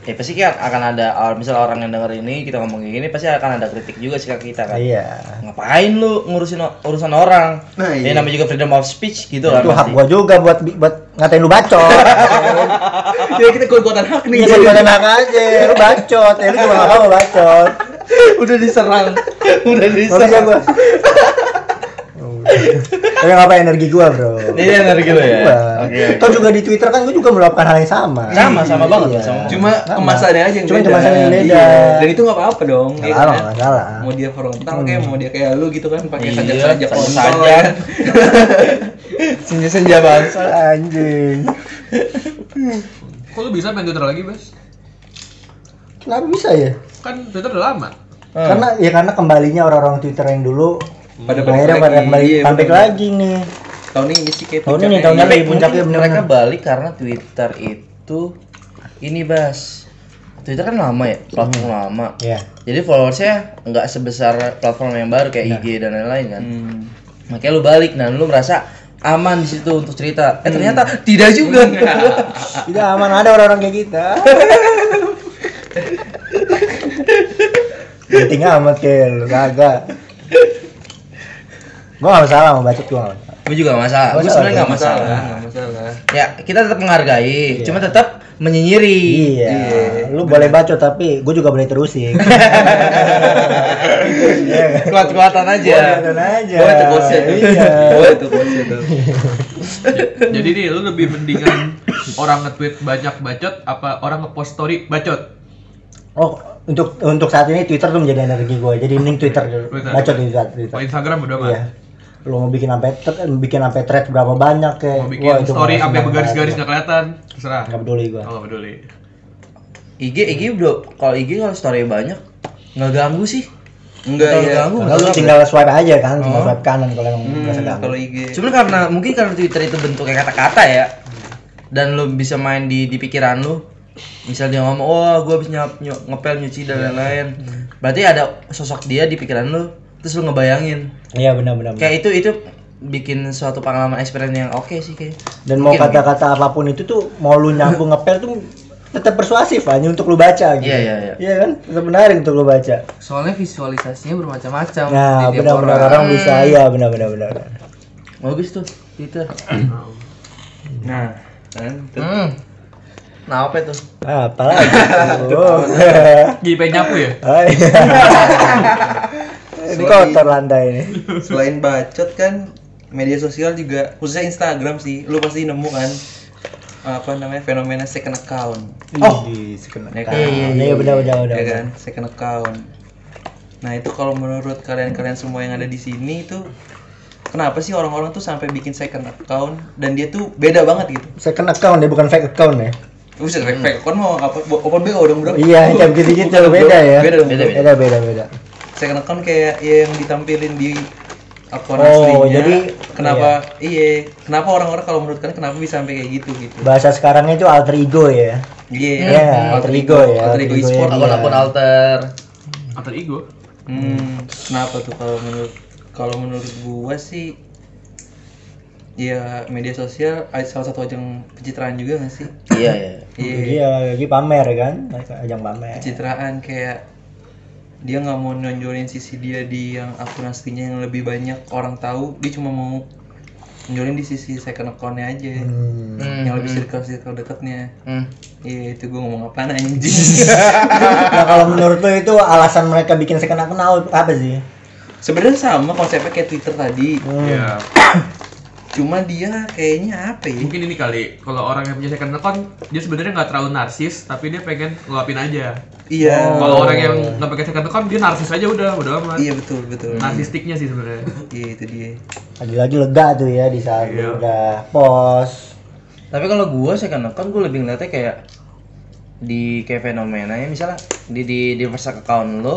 [SPEAKER 1] ya pasti kan akan ada misalnya orang yang denger ini kita ngomong kayak gini pasti akan ada kritik juga sih ke kita kan.
[SPEAKER 2] Iya.
[SPEAKER 1] Ngapain lu ngurusin o- urusan orang?
[SPEAKER 3] Nah,
[SPEAKER 1] Ya
[SPEAKER 3] iya.
[SPEAKER 1] namanya juga freedom of speech gitu kan.
[SPEAKER 2] Nah, Itu hak
[SPEAKER 1] pasti.
[SPEAKER 2] gua juga buat buat ngatain lu bacot.
[SPEAKER 3] ya kita kuat-kuatan hak nih
[SPEAKER 2] Iya, gua juga enak aja. Lu bacot, ya lu juga gak apa-apa bacot.
[SPEAKER 1] <laughs> Udah diserang. Udah
[SPEAKER 2] Ngerti
[SPEAKER 1] diserang.
[SPEAKER 2] gua. Tapi nggak apa energi gua bro.
[SPEAKER 1] Ini energi lo ya.
[SPEAKER 2] Gua.
[SPEAKER 1] Oke.
[SPEAKER 2] Toh juga di Twitter kan gua juga melakukan hal yang sama. Iya.
[SPEAKER 1] Sama, sama banget, sama.
[SPEAKER 3] Cuma
[SPEAKER 2] Sama.
[SPEAKER 3] kemasannya aja yang
[SPEAKER 2] Cuma
[SPEAKER 3] beda.
[SPEAKER 2] kemasannya yang beda.
[SPEAKER 3] Iya. Dan itu nggak apa-apa dong.
[SPEAKER 2] Nggak
[SPEAKER 3] ya
[SPEAKER 2] salah,
[SPEAKER 3] kan?
[SPEAKER 2] nggak Hmm. salah.
[SPEAKER 3] Mau dia frontal kayak mau dia kayak lu gitu kan pakai
[SPEAKER 1] Iya,
[SPEAKER 3] sajak-sajak
[SPEAKER 1] sajak.
[SPEAKER 3] kontol ya kan.
[SPEAKER 1] Senja-senja banget.
[SPEAKER 2] Anjing.
[SPEAKER 4] Kok lu bisa main Twitter lagi, Bas?
[SPEAKER 2] Kenapa bisa ya?
[SPEAKER 4] Kan Twitter udah lama.
[SPEAKER 2] Karena ya karena kembalinya orang-orang Twitter yang dulu
[SPEAKER 3] Pada balik
[SPEAKER 2] akhirnya pada
[SPEAKER 3] lagi,
[SPEAKER 2] kembali
[SPEAKER 3] iya,
[SPEAKER 2] comeback
[SPEAKER 3] bener.
[SPEAKER 2] lagi nih.
[SPEAKER 3] Tahun ini sih kayak
[SPEAKER 2] Tahun Oh, ini,
[SPEAKER 3] puncaknya
[SPEAKER 2] tahun
[SPEAKER 1] Tapi
[SPEAKER 2] ini.
[SPEAKER 3] ya.
[SPEAKER 2] puncaknya
[SPEAKER 1] puncaknya
[SPEAKER 2] beneran.
[SPEAKER 1] mereka balik karena Twitter itu ini Bas. Twitter kan lama ya, platform lama.
[SPEAKER 2] Iya.
[SPEAKER 1] Jadi followersnya nggak sebesar platform yang baru kayak IG dan lain-lain kan.
[SPEAKER 3] Hmm.
[SPEAKER 1] Makanya lu balik dan lu merasa aman di situ untuk cerita. Eh ternyata tidak juga. <laughs>
[SPEAKER 2] Tidak aman ada orang-orang kayak kita. <laughs> Penting amat kayak lu kagak. Gua gak masalah mau bacot gua. nggak masalah.
[SPEAKER 1] Gue juga nggak masalah. Gue
[SPEAKER 2] Masalah,
[SPEAKER 1] sebenarnya nggak
[SPEAKER 3] Nggak
[SPEAKER 1] masalah. Iya.
[SPEAKER 3] masalah, nggak masalah.
[SPEAKER 1] Ya kita tetap menghargai, cuma tetap menyinyiri.
[SPEAKER 2] Iya, lu boleh bacot tapi gua juga boleh <laughs> terusin. Iya.
[SPEAKER 1] <laughs> Kuat-kuatan aja.
[SPEAKER 2] Boleh aja.
[SPEAKER 3] Boleh tuh quotesnya tuh.
[SPEAKER 2] Iya.
[SPEAKER 3] Boleh tuh quotesnya tuh.
[SPEAKER 4] Jadi nih, lu lebih mendingan orang nge-tweet banyak bacot apa orang nge-post story bacot?
[SPEAKER 2] Oh, untuk untuk saat ini Twitter tuh menjadi energi gua. Jadi mending Twitter dulu.
[SPEAKER 4] Twitter.
[SPEAKER 2] Bacot di saat Twitter.
[SPEAKER 4] Kalau Instagram udah mah.
[SPEAKER 2] Iya. Lu mau bikin sampai thread, bikin sampai thread berapa banyak kayak.
[SPEAKER 4] Mau bikin story
[SPEAKER 2] malas
[SPEAKER 4] sampai
[SPEAKER 2] banget.
[SPEAKER 4] bergaris-garis nggak kelihatan, terserah.
[SPEAKER 2] Nggak peduli gua.
[SPEAKER 4] Kalau nggak peduli.
[SPEAKER 1] IG IG udah kalau IG kalau story banyak nggak ganggu sih.
[SPEAKER 3] Enggak
[SPEAKER 1] Kalau
[SPEAKER 3] ya.
[SPEAKER 1] ganggu
[SPEAKER 2] Kalau lu
[SPEAKER 1] iya. nggak
[SPEAKER 2] tinggal swipe aja kan, tinggal swipe kanan kalau yang
[SPEAKER 3] Hmm,
[SPEAKER 2] merasa ganggu.
[SPEAKER 3] Kalau IG.
[SPEAKER 1] Cuma karena mungkin karena Twitter itu bentuknya kata-kata ya. Dan lu bisa main di di pikiran lu. Misal dia ngomong, "Oh, gua habis nyap nyu- ngepel nyuci dan lain-lain." Berarti ada sosok dia di pikiran lu, terus lu ngebayangin.
[SPEAKER 2] Iya benar-benar.
[SPEAKER 1] Kayak itu itu bikin suatu pengalaman experience yang oke sih kayak.
[SPEAKER 2] Dan mau
[SPEAKER 1] Mungkin,
[SPEAKER 2] kata-kata apapun itu tuh mau lu nyambung ngepel tuh tetap persuasif hanya untuk lu baca gitu.
[SPEAKER 1] Iya, iya, iya.
[SPEAKER 2] Iya kan? Tetap menarik untuk lu baca.
[SPEAKER 5] Soalnya visualisasinya bermacam-macam.
[SPEAKER 2] Nah,
[SPEAKER 5] di tiap
[SPEAKER 2] benar-benar
[SPEAKER 5] orang.
[SPEAKER 2] orang bisa iya benar-benar benar.
[SPEAKER 1] mungkin. Bagus tuh Twitter.
[SPEAKER 3] Nah, kan. tuh.
[SPEAKER 1] Hmm. Nah, apa itu?
[SPEAKER 2] Ah, apalagi. Oh.
[SPEAKER 4] Jadi pengen nyapu ya?
[SPEAKER 2] Hai. Ini kotor lantai ini.
[SPEAKER 3] Selain bacot kan media sosial juga khususnya Instagram sih. Lu pasti nemu kan apa namanya fenomena second account.
[SPEAKER 2] Oh.
[SPEAKER 3] Ya kan?
[SPEAKER 2] Iya, iya, iya, benar, benar, benar.
[SPEAKER 3] ya kan second account nah itu kalau menurut kalian-kalian semua yang ada di sini itu kenapa sih orang-orang tuh sampai bikin second account dan dia tuh beda banget gitu
[SPEAKER 2] Second account ya, bukan fake account ya.
[SPEAKER 3] bisa hmm. fake account mau apa bo- open BO dong bro
[SPEAKER 2] Iya, kayak gitu-gitu beda ya.
[SPEAKER 3] beda dong
[SPEAKER 1] Beda,
[SPEAKER 3] bro.
[SPEAKER 1] beda.
[SPEAKER 2] Beda, beda, beda.
[SPEAKER 3] second account kayak yang ditampilin di
[SPEAKER 2] Oh,
[SPEAKER 3] akun aslinya
[SPEAKER 2] jadi-
[SPEAKER 3] kenapa iya kenapa orang-orang kalau menurut kalian kenapa bisa sampai kayak gitu gitu
[SPEAKER 2] Bahasa sekarangnya itu alter ego ya.
[SPEAKER 3] iya
[SPEAKER 2] Iya, alter ego ya,
[SPEAKER 3] alter
[SPEAKER 2] alter
[SPEAKER 3] ego
[SPEAKER 2] ego
[SPEAKER 3] e-sport
[SPEAKER 2] ya.
[SPEAKER 1] Akun-akun alter.
[SPEAKER 4] Alter ego.
[SPEAKER 3] Hmm, kenapa tuh kalau menurut kalau menurut gua sih ya media sosial a- salah satu ajang pencitraan juga nggak sih?
[SPEAKER 1] Iya, iya.
[SPEAKER 3] Iya,
[SPEAKER 2] Iya, lagi pamer kan, ajang pamer.
[SPEAKER 3] pencitraan kayak dia nggak mau nonjolin sisi dia di yang akun aslinya yang lebih banyak orang tahu, dia cuma mau nonjolin di sisi second account-nya aja.
[SPEAKER 2] Hmm.
[SPEAKER 1] Hmm.
[SPEAKER 3] Yang lebih circle-circle dekatnya.
[SPEAKER 1] Hmm.
[SPEAKER 3] Iya, itu gua ngomong apaan anjing.
[SPEAKER 2] Nah, kalau menurut lu itu alasan mereka bikin second account apa sih?
[SPEAKER 3] Sebenarnya sama konsepnya kayak Twitter tadi,
[SPEAKER 4] Ya,
[SPEAKER 3] cuma dia kayaknya apa ya?
[SPEAKER 4] mungkin ini kali kalau orang yang punya second account dia sebenarnya nggak terlalu narsis tapi dia pengen ngelapin aja
[SPEAKER 3] Iya.
[SPEAKER 4] kalau orang yang nggak pakai second account dia narsis aja udah udah amat
[SPEAKER 3] Iya betul betul.
[SPEAKER 4] narsistiknya sih sebenarnya
[SPEAKER 3] Iya itu dia.
[SPEAKER 2] Lagi-lagi lega tuh ya di saat
[SPEAKER 4] Iya.
[SPEAKER 2] lu udah post.
[SPEAKER 1] Tapi kalau gua second account gua lebih ngeliatnya kayak di kayak fenomenanya misalnya di di di first account lo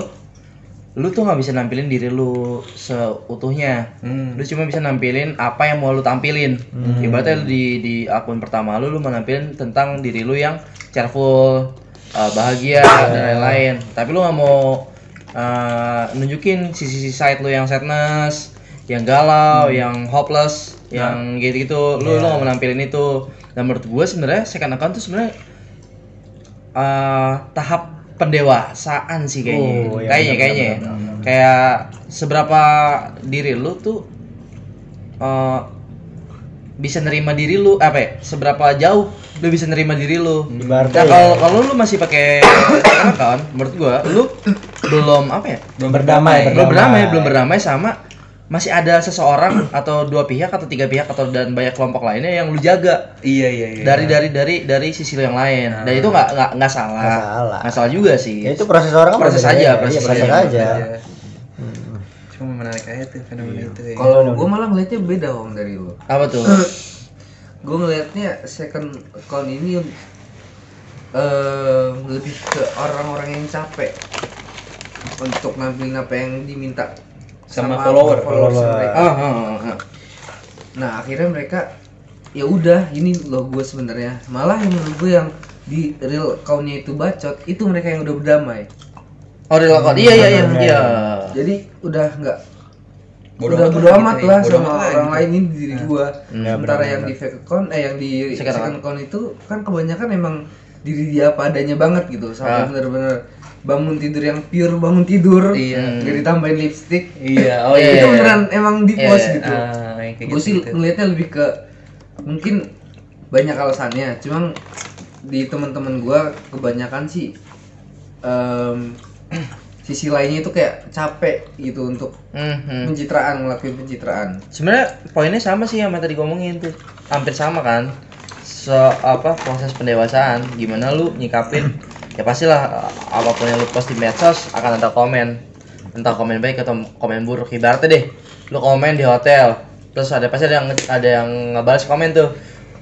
[SPEAKER 1] lu tuh nggak bisa nampilin diri lu seutuhnya
[SPEAKER 3] Hmm.
[SPEAKER 1] lu cuma bisa nampilin apa yang mau lu tampilin
[SPEAKER 2] Hmm.
[SPEAKER 1] ibaratnya lu di di akun pertama lu lu mau nampilin tentang diri lu yang cheerful uh, bahagia
[SPEAKER 2] Iya.
[SPEAKER 1] dan lain-lain tapi lu nggak mau uh, nunjukin sisi-sisi side lu yang sadness yang
[SPEAKER 2] Hmm.
[SPEAKER 1] galau yang hopeless
[SPEAKER 2] Nah.
[SPEAKER 1] yang gitu-gitu
[SPEAKER 2] Iya.
[SPEAKER 1] lu lu nggak mau nampilin itu dan menurut gue sebenarnya second account tuh sebenarnya eh tahap pendewasaan sih kayaknya.
[SPEAKER 2] Oh, iya,
[SPEAKER 1] kayaknya
[SPEAKER 2] benar,
[SPEAKER 1] kayaknya. ya.
[SPEAKER 2] benar, benar,
[SPEAKER 1] Kayak seberapa diri lu tuh eh bisa nerima diri lu apa ya? Seberapa jauh lu bisa nerima diri lu? Nah,
[SPEAKER 2] Ibaratnya
[SPEAKER 1] kalau kalau lu masih pakai account, menurut gua lu belum apa ya?
[SPEAKER 2] Berdamai,
[SPEAKER 1] Belum berdamai, belum berdamai sama masih ada seseorang atau dua pihak atau tiga pihak atau dan banyak kelompok lainnya yang lu jaga
[SPEAKER 3] Iya iya iya.
[SPEAKER 1] dari dari dari dari sisi lu yang lain dan itu nggak nggak nggak salah
[SPEAKER 2] Nah. Nggak salah.
[SPEAKER 1] nggak salah juga sih
[SPEAKER 2] Ya, itu proses orang kan
[SPEAKER 1] Proses
[SPEAKER 2] berbeda-beda.
[SPEAKER 1] aja,
[SPEAKER 2] Iya,
[SPEAKER 1] proses
[SPEAKER 2] proses
[SPEAKER 1] aja.
[SPEAKER 2] aja.
[SPEAKER 3] Cuma menarik aja tuh fenomena itu ya.
[SPEAKER 2] Iya,
[SPEAKER 5] Kalau gue malah ngelihatnya beda om dari lo.
[SPEAKER 1] apa
[SPEAKER 2] <clears throat>
[SPEAKER 1] tuh
[SPEAKER 5] gue ngelihatnya second account ini eh lebih ke orang-orang yang capek untuk nampilin apa yang diminta
[SPEAKER 3] Sama follower.
[SPEAKER 5] followers
[SPEAKER 2] Follower.
[SPEAKER 5] mereka.
[SPEAKER 1] Ah, ah, ah, ah.
[SPEAKER 5] Nah akhirnya mereka ya udah ini loh gue sebenarnya malah yang menurut gue yang di real accountnya itu bacot itu mereka yang udah berdamai
[SPEAKER 1] oh real account. iya iya iya iya
[SPEAKER 5] jadi udah nggak
[SPEAKER 3] Bodo
[SPEAKER 5] udah
[SPEAKER 3] amat
[SPEAKER 5] bodo
[SPEAKER 3] lah
[SPEAKER 5] amat
[SPEAKER 3] gitu ya.
[SPEAKER 5] lah
[SPEAKER 3] Bodo
[SPEAKER 5] sama
[SPEAKER 3] amat lah
[SPEAKER 5] orang
[SPEAKER 3] gitu.
[SPEAKER 5] lain ini di diri gua
[SPEAKER 1] Ya,
[SPEAKER 5] sementara yang di fake account eh yang di
[SPEAKER 1] Second
[SPEAKER 5] second, account itu kan kebanyakan emang diri dia apa adanya banget gitu
[SPEAKER 1] Ah.
[SPEAKER 5] sampai bener-bener bangun tidur yang pure bangun tidur
[SPEAKER 3] Iya.
[SPEAKER 5] nggak ditambahin lipstick
[SPEAKER 3] Iya, oh
[SPEAKER 1] Iya,
[SPEAKER 5] itu
[SPEAKER 1] iya, iya.
[SPEAKER 5] beneran emang di
[SPEAKER 1] Iya,
[SPEAKER 5] post
[SPEAKER 1] iya.
[SPEAKER 5] gitu
[SPEAKER 3] <laughs> Ah, yang kayak
[SPEAKER 5] gue sih
[SPEAKER 1] gitu.
[SPEAKER 3] gitu-gitu.
[SPEAKER 5] ngelihatnya lebih ke mungkin banyak alasannya cuman di teman-teman gua kebanyakan sih em, <clears throat> sisi lainnya itu kayak capek gitu untuk
[SPEAKER 1] Hmm, hmm.
[SPEAKER 5] pencitraan ngelakuin pencitraan
[SPEAKER 1] sebenarnya poinnya sama sih sama tadi ngomongin tuh hampir sama kan so apa proses pendewasaan gimana lu <clears throat> nyikapin ya pastilah eh, apapun yang lu post di medsos akan ada komen entah komen baik atau komen buruk ibaratnya deh lu komen di hotel terus ada pasti ada yang ada yang ngebales komen tuh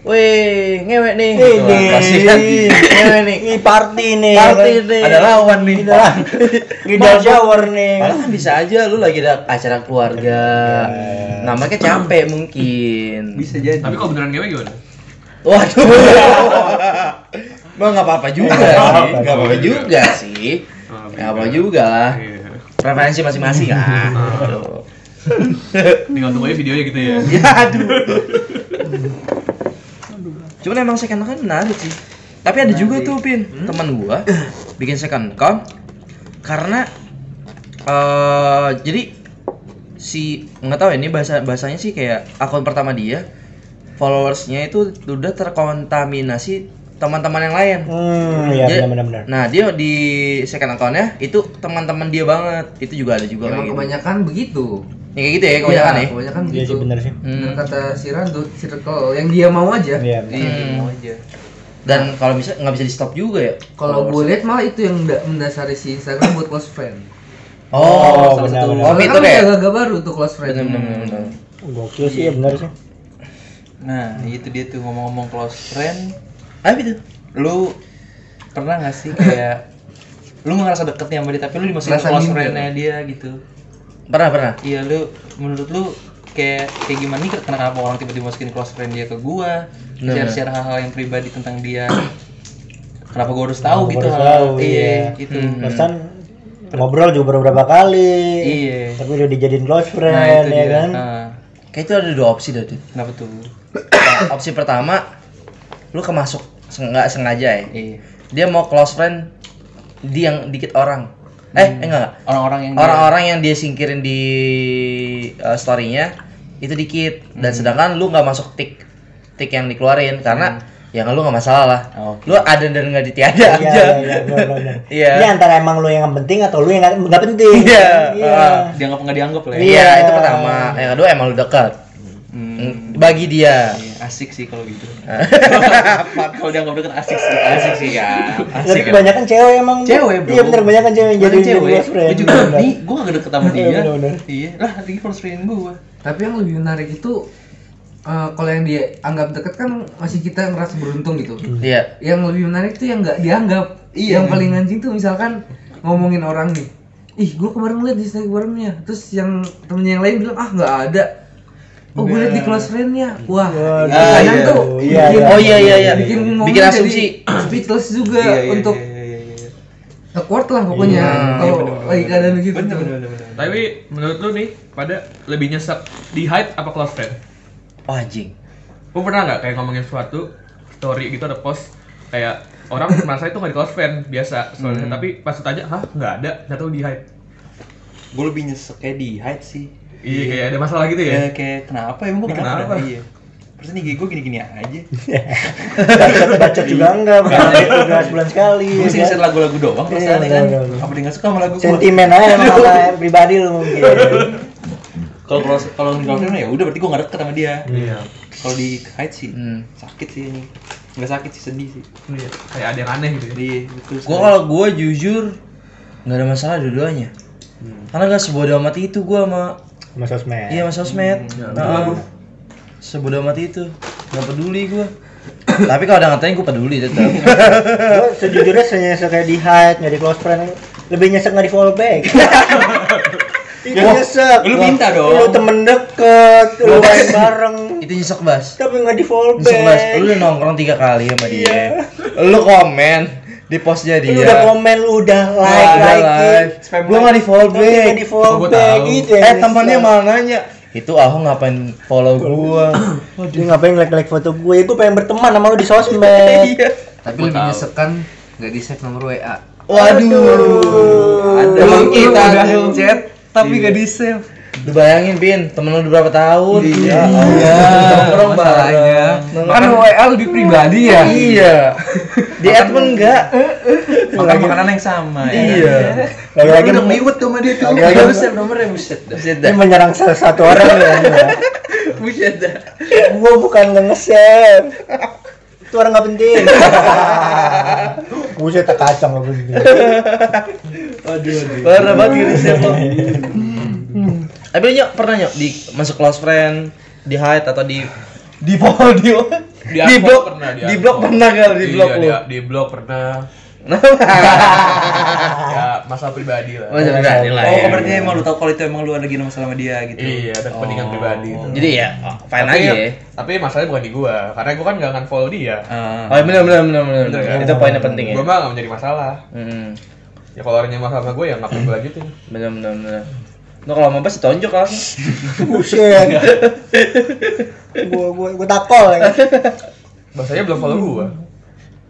[SPEAKER 1] Wih, ngewek nih. Gitu kan. Pasti <laughs> kan. Ngewek nih.
[SPEAKER 2] Ini party nih.
[SPEAKER 1] Party nih.
[SPEAKER 2] <laughs>
[SPEAKER 3] Ada lawan nih.
[SPEAKER 2] Ngidal shower nih.
[SPEAKER 1] Malah Kan bisa aja lu lagi ada acara keluarga. Namanya capek mungkin.
[SPEAKER 3] Bisa jadi.
[SPEAKER 4] Tapi kalau beneran ngewe gimana?
[SPEAKER 1] <laughs> Waduh. Mah nggak apa-apa juga sih, nggak apa-apa juga sih,
[SPEAKER 4] Oh,
[SPEAKER 1] nggak apa-apa juga lah.
[SPEAKER 4] Iya.
[SPEAKER 1] Preferensi masing-masing lah. Gitu.
[SPEAKER 4] Tinggal tunggu aja videonya gitu ya.
[SPEAKER 1] Ya aduh. Cuman emang second account menarik sih. Tapi ada juga tuh pin
[SPEAKER 5] Hmm?
[SPEAKER 1] teman gua bikin second account karena eh jadi si nggak tahu ya, ini bahasa bahasanya sih kayak akun pertama dia followersnya itu udah terkontaminasi teman-teman yang lain.
[SPEAKER 2] Hmm, ya
[SPEAKER 1] Jadi-
[SPEAKER 2] benar-benar.
[SPEAKER 1] Nah dia di second accountnya itu teman-teman dia banget. Itu juga ada juga
[SPEAKER 5] emang
[SPEAKER 1] kayak gitu.
[SPEAKER 5] kebanyakan begitu
[SPEAKER 1] Ya, kayak gitu ya kebanyakan
[SPEAKER 5] Iya,
[SPEAKER 1] ya.
[SPEAKER 5] kebanyakan
[SPEAKER 2] Iya
[SPEAKER 5] begitu
[SPEAKER 2] sih benar sih.
[SPEAKER 1] Hmm.
[SPEAKER 5] Bener kata si Rando circle yang dia mau aja
[SPEAKER 2] Iya. benar.
[SPEAKER 3] Iya,
[SPEAKER 1] Hmm.
[SPEAKER 3] mau aja.
[SPEAKER 1] Dan kalau bisa nggak bisa di stop juga ya.
[SPEAKER 5] kalau gue lihat malah itu yang nda- mendasari si Instagram buat close friend
[SPEAKER 1] Oh,
[SPEAKER 2] Oh,
[SPEAKER 1] salah satu.
[SPEAKER 2] benar-benar.
[SPEAKER 1] Oh,
[SPEAKER 5] Karena
[SPEAKER 1] itu
[SPEAKER 5] kan
[SPEAKER 1] ya.
[SPEAKER 5] agak-agak baru tuh close friend
[SPEAKER 1] Benar-benar.
[SPEAKER 2] Gokil sih ya benar sih.
[SPEAKER 3] Nah, itu dia tuh ngomong-ngomong close friend,
[SPEAKER 1] Ah itu.
[SPEAKER 3] lu pernah gak sih kayak lu ngerasa deket nih sama dia tapi lu dimasukin
[SPEAKER 5] Ngerasa
[SPEAKER 3] close
[SPEAKER 5] minder.
[SPEAKER 3] friend-nya dia gitu.
[SPEAKER 1] Pernah pernah.
[SPEAKER 3] Iya, lu menurut lu kayak kayak gimana nih kenapa orang tiba-tiba masukin close friend dia ke gua?
[SPEAKER 1] Nah.
[SPEAKER 3] Share-share hal-hal yang pribadi tentang dia. Kenapa gua harus
[SPEAKER 2] Kenapa
[SPEAKER 3] tahu gitu
[SPEAKER 2] gua harus
[SPEAKER 3] hal-hal?
[SPEAKER 2] tahu,
[SPEAKER 3] Iya,
[SPEAKER 2] iya.
[SPEAKER 3] gitu.
[SPEAKER 1] Hmm.
[SPEAKER 2] Barusan ngobrol juga beberapa kali.
[SPEAKER 3] Iya.
[SPEAKER 2] Tapi udah dijadiin close
[SPEAKER 3] Nah,
[SPEAKER 2] friend
[SPEAKER 3] itu
[SPEAKER 2] ya
[SPEAKER 3] dia.
[SPEAKER 2] kan.
[SPEAKER 3] Ah,
[SPEAKER 1] Kayak itu ada dua opsi dah Dit.
[SPEAKER 3] kenapa tuh?
[SPEAKER 1] Nah, opsi pertama, lu kemasuk seng- nggak sengaja ya.
[SPEAKER 3] Iya.
[SPEAKER 1] Dia mau close friend dia yang dikit orang. Eh, eh, enggak enggak.
[SPEAKER 3] Orang-orang yang dia-
[SPEAKER 1] orang-orang yang dia singkirin di uh, story-nya itu dikit dan sedangkan lu nggak masuk tik tik yang dikeluarin karena ya lu nggak masalah lah
[SPEAKER 3] Oh, oke.
[SPEAKER 1] lu ada dan nggak ditiada
[SPEAKER 2] Iya,
[SPEAKER 1] aja
[SPEAKER 2] iya,
[SPEAKER 3] <laughs>
[SPEAKER 2] benar, benar.
[SPEAKER 1] Iya.
[SPEAKER 2] Ini antara emang lu yang penting atau lu yang nggak- nggak penting.
[SPEAKER 1] <laughs> Iya.
[SPEAKER 2] Iya.
[SPEAKER 3] dianggap nggak dianggap lah ya.
[SPEAKER 1] iya itu pertama yang kedua emang lu dekat
[SPEAKER 3] Hmm,
[SPEAKER 1] Mm, bagi dia
[SPEAKER 3] iya, asik sih kalau gitu.
[SPEAKER 2] Ah.
[SPEAKER 3] <laughs> kalau dianggap deket asik sih, asik sih kan.
[SPEAKER 2] ya. Tapi
[SPEAKER 3] Asik kan.
[SPEAKER 2] kebanyakan cewek emang.
[SPEAKER 3] Cewek bro.
[SPEAKER 2] Iya benar kebanyakan cewek yang jadi
[SPEAKER 3] Kebanyakan
[SPEAKER 2] jadi
[SPEAKER 3] cewek.
[SPEAKER 2] close friend.
[SPEAKER 3] Gue juga
[SPEAKER 2] Benar.
[SPEAKER 3] nih, gue gak
[SPEAKER 2] <laughs>
[SPEAKER 3] deket sama
[SPEAKER 2] Iya,
[SPEAKER 3] dia.
[SPEAKER 2] bener-bener.
[SPEAKER 3] Iya, lah lagi close friend gue.
[SPEAKER 5] Tapi yang lebih menarik itu eh, kalau yang dianggap deket kan masih kita ngerasa beruntung gitu.
[SPEAKER 3] Hmm.
[SPEAKER 2] Hmm.
[SPEAKER 1] iya
[SPEAKER 5] Yang lebih menarik tuh yang nggak dianggap.
[SPEAKER 3] Iya,
[SPEAKER 5] yang paling anjing tuh misalkan ngomongin orang nih. Ih, gua kemarin liat di Instagramnya. Terus yang temennya yang lain bilang ah nggak ada. Oh, gue liat di close friendnya. Wah,
[SPEAKER 2] Waduh,
[SPEAKER 5] kadang
[SPEAKER 3] iya.
[SPEAKER 5] tuh
[SPEAKER 2] Iya,
[SPEAKER 5] bikin-
[SPEAKER 2] iya.
[SPEAKER 1] oh iya iya iya
[SPEAKER 5] bikin,
[SPEAKER 1] bikin,
[SPEAKER 5] ngomongnya jadi
[SPEAKER 1] asumsi
[SPEAKER 5] <clears throat> speechless juga untuk
[SPEAKER 3] iya, iya, iya.
[SPEAKER 5] awkward lah pokoknya
[SPEAKER 1] Iya,
[SPEAKER 5] kalau lagi keadaan gitu.
[SPEAKER 3] Bener,
[SPEAKER 5] tuh.
[SPEAKER 3] bener, bener, bener.
[SPEAKER 4] Tapi menurut lu nih, pada lebih nyesek di hide apa close friend?
[SPEAKER 3] Oh,
[SPEAKER 1] Wah, anjing
[SPEAKER 4] Lu pernah nggak kayak ngomongin sesuatu story gitu ada post kayak
[SPEAKER 1] <coughs>
[SPEAKER 4] orang merasa itu nggak di close friend biasa soalnya
[SPEAKER 1] Hmm.
[SPEAKER 4] tapi pas ditanya hah nggak ada nggak tahu di hide
[SPEAKER 3] Gue lebih nyesek kayak di hide sih.
[SPEAKER 4] iya kayak ada masalah gitu ya
[SPEAKER 3] Ya, kayak kenapa emang gue
[SPEAKER 4] Ini
[SPEAKER 3] kenapa?
[SPEAKER 4] kenapa?
[SPEAKER 3] Iya. Terus nih gue gini-gini aja.
[SPEAKER 2] Bacot bacot juga enggak. Enggak sebulan sekali.
[SPEAKER 3] Gue Iya. sih
[SPEAKER 2] ya kan?
[SPEAKER 3] share lagu-lagu doang terus
[SPEAKER 2] Iya,
[SPEAKER 3] kan.
[SPEAKER 2] bener, bener.
[SPEAKER 3] <laughs> Apa dia nggak suka sama lagu gua?
[SPEAKER 2] Sentimen aja sama pribadi lu mungkin.
[SPEAKER 3] Kalau kalau kalau di close friend ya udah berarti gue nggak deket sama dia.
[SPEAKER 4] Iya.
[SPEAKER 3] Kalau di hide sih
[SPEAKER 1] Hmm.
[SPEAKER 3] sakit sih ini. Nggak sakit sih sedih sih.
[SPEAKER 4] Iya. Kayak ada yang aneh gitu. ya.
[SPEAKER 3] Jadi betul.
[SPEAKER 1] Gue kalau gue jujur nggak ada masalah dua-duamanya.
[SPEAKER 2] Hmm.
[SPEAKER 1] Karena gak sebodoh amat itu gue sama
[SPEAKER 2] sama sosmed
[SPEAKER 1] iya sama sosmed.
[SPEAKER 2] Hmm, ya
[SPEAKER 1] Nah, sebodoh amat itu nggak peduli gue. <coughs> Tapi kalau ada ngatain gue peduli tetap.
[SPEAKER 2] <laughs> Gua sejujurnya nyesek kayak di hide nggak di close friend lebih nyesek nggak di follow
[SPEAKER 3] <laughs>
[SPEAKER 2] back itu
[SPEAKER 3] Wah,
[SPEAKER 2] nyesek
[SPEAKER 3] Ya. lu
[SPEAKER 2] Wah,
[SPEAKER 3] minta dong.
[SPEAKER 2] lu temen deket lu main bareng
[SPEAKER 1] itu nyesek bas.
[SPEAKER 2] tapi nggak di follow
[SPEAKER 1] Nyesek bas.
[SPEAKER 2] back
[SPEAKER 1] Lu udah nongkrong tiga kali sama dia. Lu komen di postnya dia.
[SPEAKER 2] Iya. lu udah komen lu udah
[SPEAKER 1] ya,
[SPEAKER 2] like
[SPEAKER 1] iya. Udah
[SPEAKER 2] like eh.
[SPEAKER 1] like.
[SPEAKER 3] Spam
[SPEAKER 1] Gua nggak di follow
[SPEAKER 2] tapi
[SPEAKER 1] back.
[SPEAKER 2] nggak di follow
[SPEAKER 4] Oh, gua
[SPEAKER 2] back
[SPEAKER 4] tahu.
[SPEAKER 2] gitu
[SPEAKER 1] Eh temannya malah nanya itu Ahok ngapain follow gua
[SPEAKER 2] dia ngapain like like foto gue ya gue pengen berteman sama lu di
[SPEAKER 1] <laughs>
[SPEAKER 2] sosmed
[SPEAKER 1] Iya.
[SPEAKER 5] Tapi
[SPEAKER 4] Gua
[SPEAKER 5] lebih
[SPEAKER 4] tahu.
[SPEAKER 5] nyesekan nggak di save nomor WA.
[SPEAKER 2] Aduh.
[SPEAKER 5] Ada
[SPEAKER 1] Emang iya, kan? kita
[SPEAKER 5] udah
[SPEAKER 1] tuh.
[SPEAKER 5] chat tapi nggak di save.
[SPEAKER 1] Lu bayangin Pin, temen lu udah berapa tahun? Iya.
[SPEAKER 5] Iya.
[SPEAKER 1] Nongkrong
[SPEAKER 5] Masalahnya.
[SPEAKER 1] bareng.
[SPEAKER 5] Kan WA lebih pribadi ya.
[SPEAKER 1] Iya. Di admin enggak?
[SPEAKER 3] makan makanan yang sama ya.
[SPEAKER 1] Iya.
[SPEAKER 2] kan? lagi-lagi
[SPEAKER 3] Udah ngeliwet tuh sama dia tuh.
[SPEAKER 2] Lagi-lagi-
[SPEAKER 3] Baru save nomornya buset dah.
[SPEAKER 1] Buset
[SPEAKER 2] dia
[SPEAKER 1] dah.
[SPEAKER 2] menyerang salah satu orang ya
[SPEAKER 3] Buset dah.
[SPEAKER 2] gue bukan nggak nge-share itu orang nggak
[SPEAKER 1] <laughs>
[SPEAKER 2] penting buset tak kacang nggak penting
[SPEAKER 3] Aduh aduh.
[SPEAKER 1] Parah banget diri siapa. Tapi lu Nyok, pernah Nyok di masuk close friend, di hide atau di di follow di
[SPEAKER 4] Di
[SPEAKER 1] di
[SPEAKER 4] unfollow
[SPEAKER 1] blok
[SPEAKER 4] pernah, di
[SPEAKER 1] di blok
[SPEAKER 4] unfollow.
[SPEAKER 1] pernah kali di
[SPEAKER 4] Iya,
[SPEAKER 1] blok lu.
[SPEAKER 4] di blok
[SPEAKER 1] <laughs>
[SPEAKER 4] pernah. Ya, masalah pribadi lah.
[SPEAKER 1] Masih berani lah.
[SPEAKER 3] Oh,
[SPEAKER 1] ya.
[SPEAKER 3] berarti emang lu tau kalau itu emang lu ada gini masalah sama dia gitu.
[SPEAKER 4] Iya, ada kepentingan
[SPEAKER 3] Oh.
[SPEAKER 4] pribadi. itu.
[SPEAKER 1] Jadi ya oh, fine
[SPEAKER 4] Tapi-
[SPEAKER 1] aja ya.
[SPEAKER 4] Tapi masalahnya bukan di gua, karena gua kan nggak akan follow dia.
[SPEAKER 3] Ah.
[SPEAKER 1] Oh, benar benar benar benar. Itu poin yang penting ya.
[SPEAKER 4] Gua mah nggak menjadi masalah.
[SPEAKER 1] Hmm.
[SPEAKER 4] Ya kalau orangnya masalah sama gua ya nggak perlu gua lanjutin.
[SPEAKER 1] Benar benar benar. Nah, kalau mau bas ditonjok langsung.
[SPEAKER 2] buset gue gue gue takol ya
[SPEAKER 4] Bahasanya belum follow gua.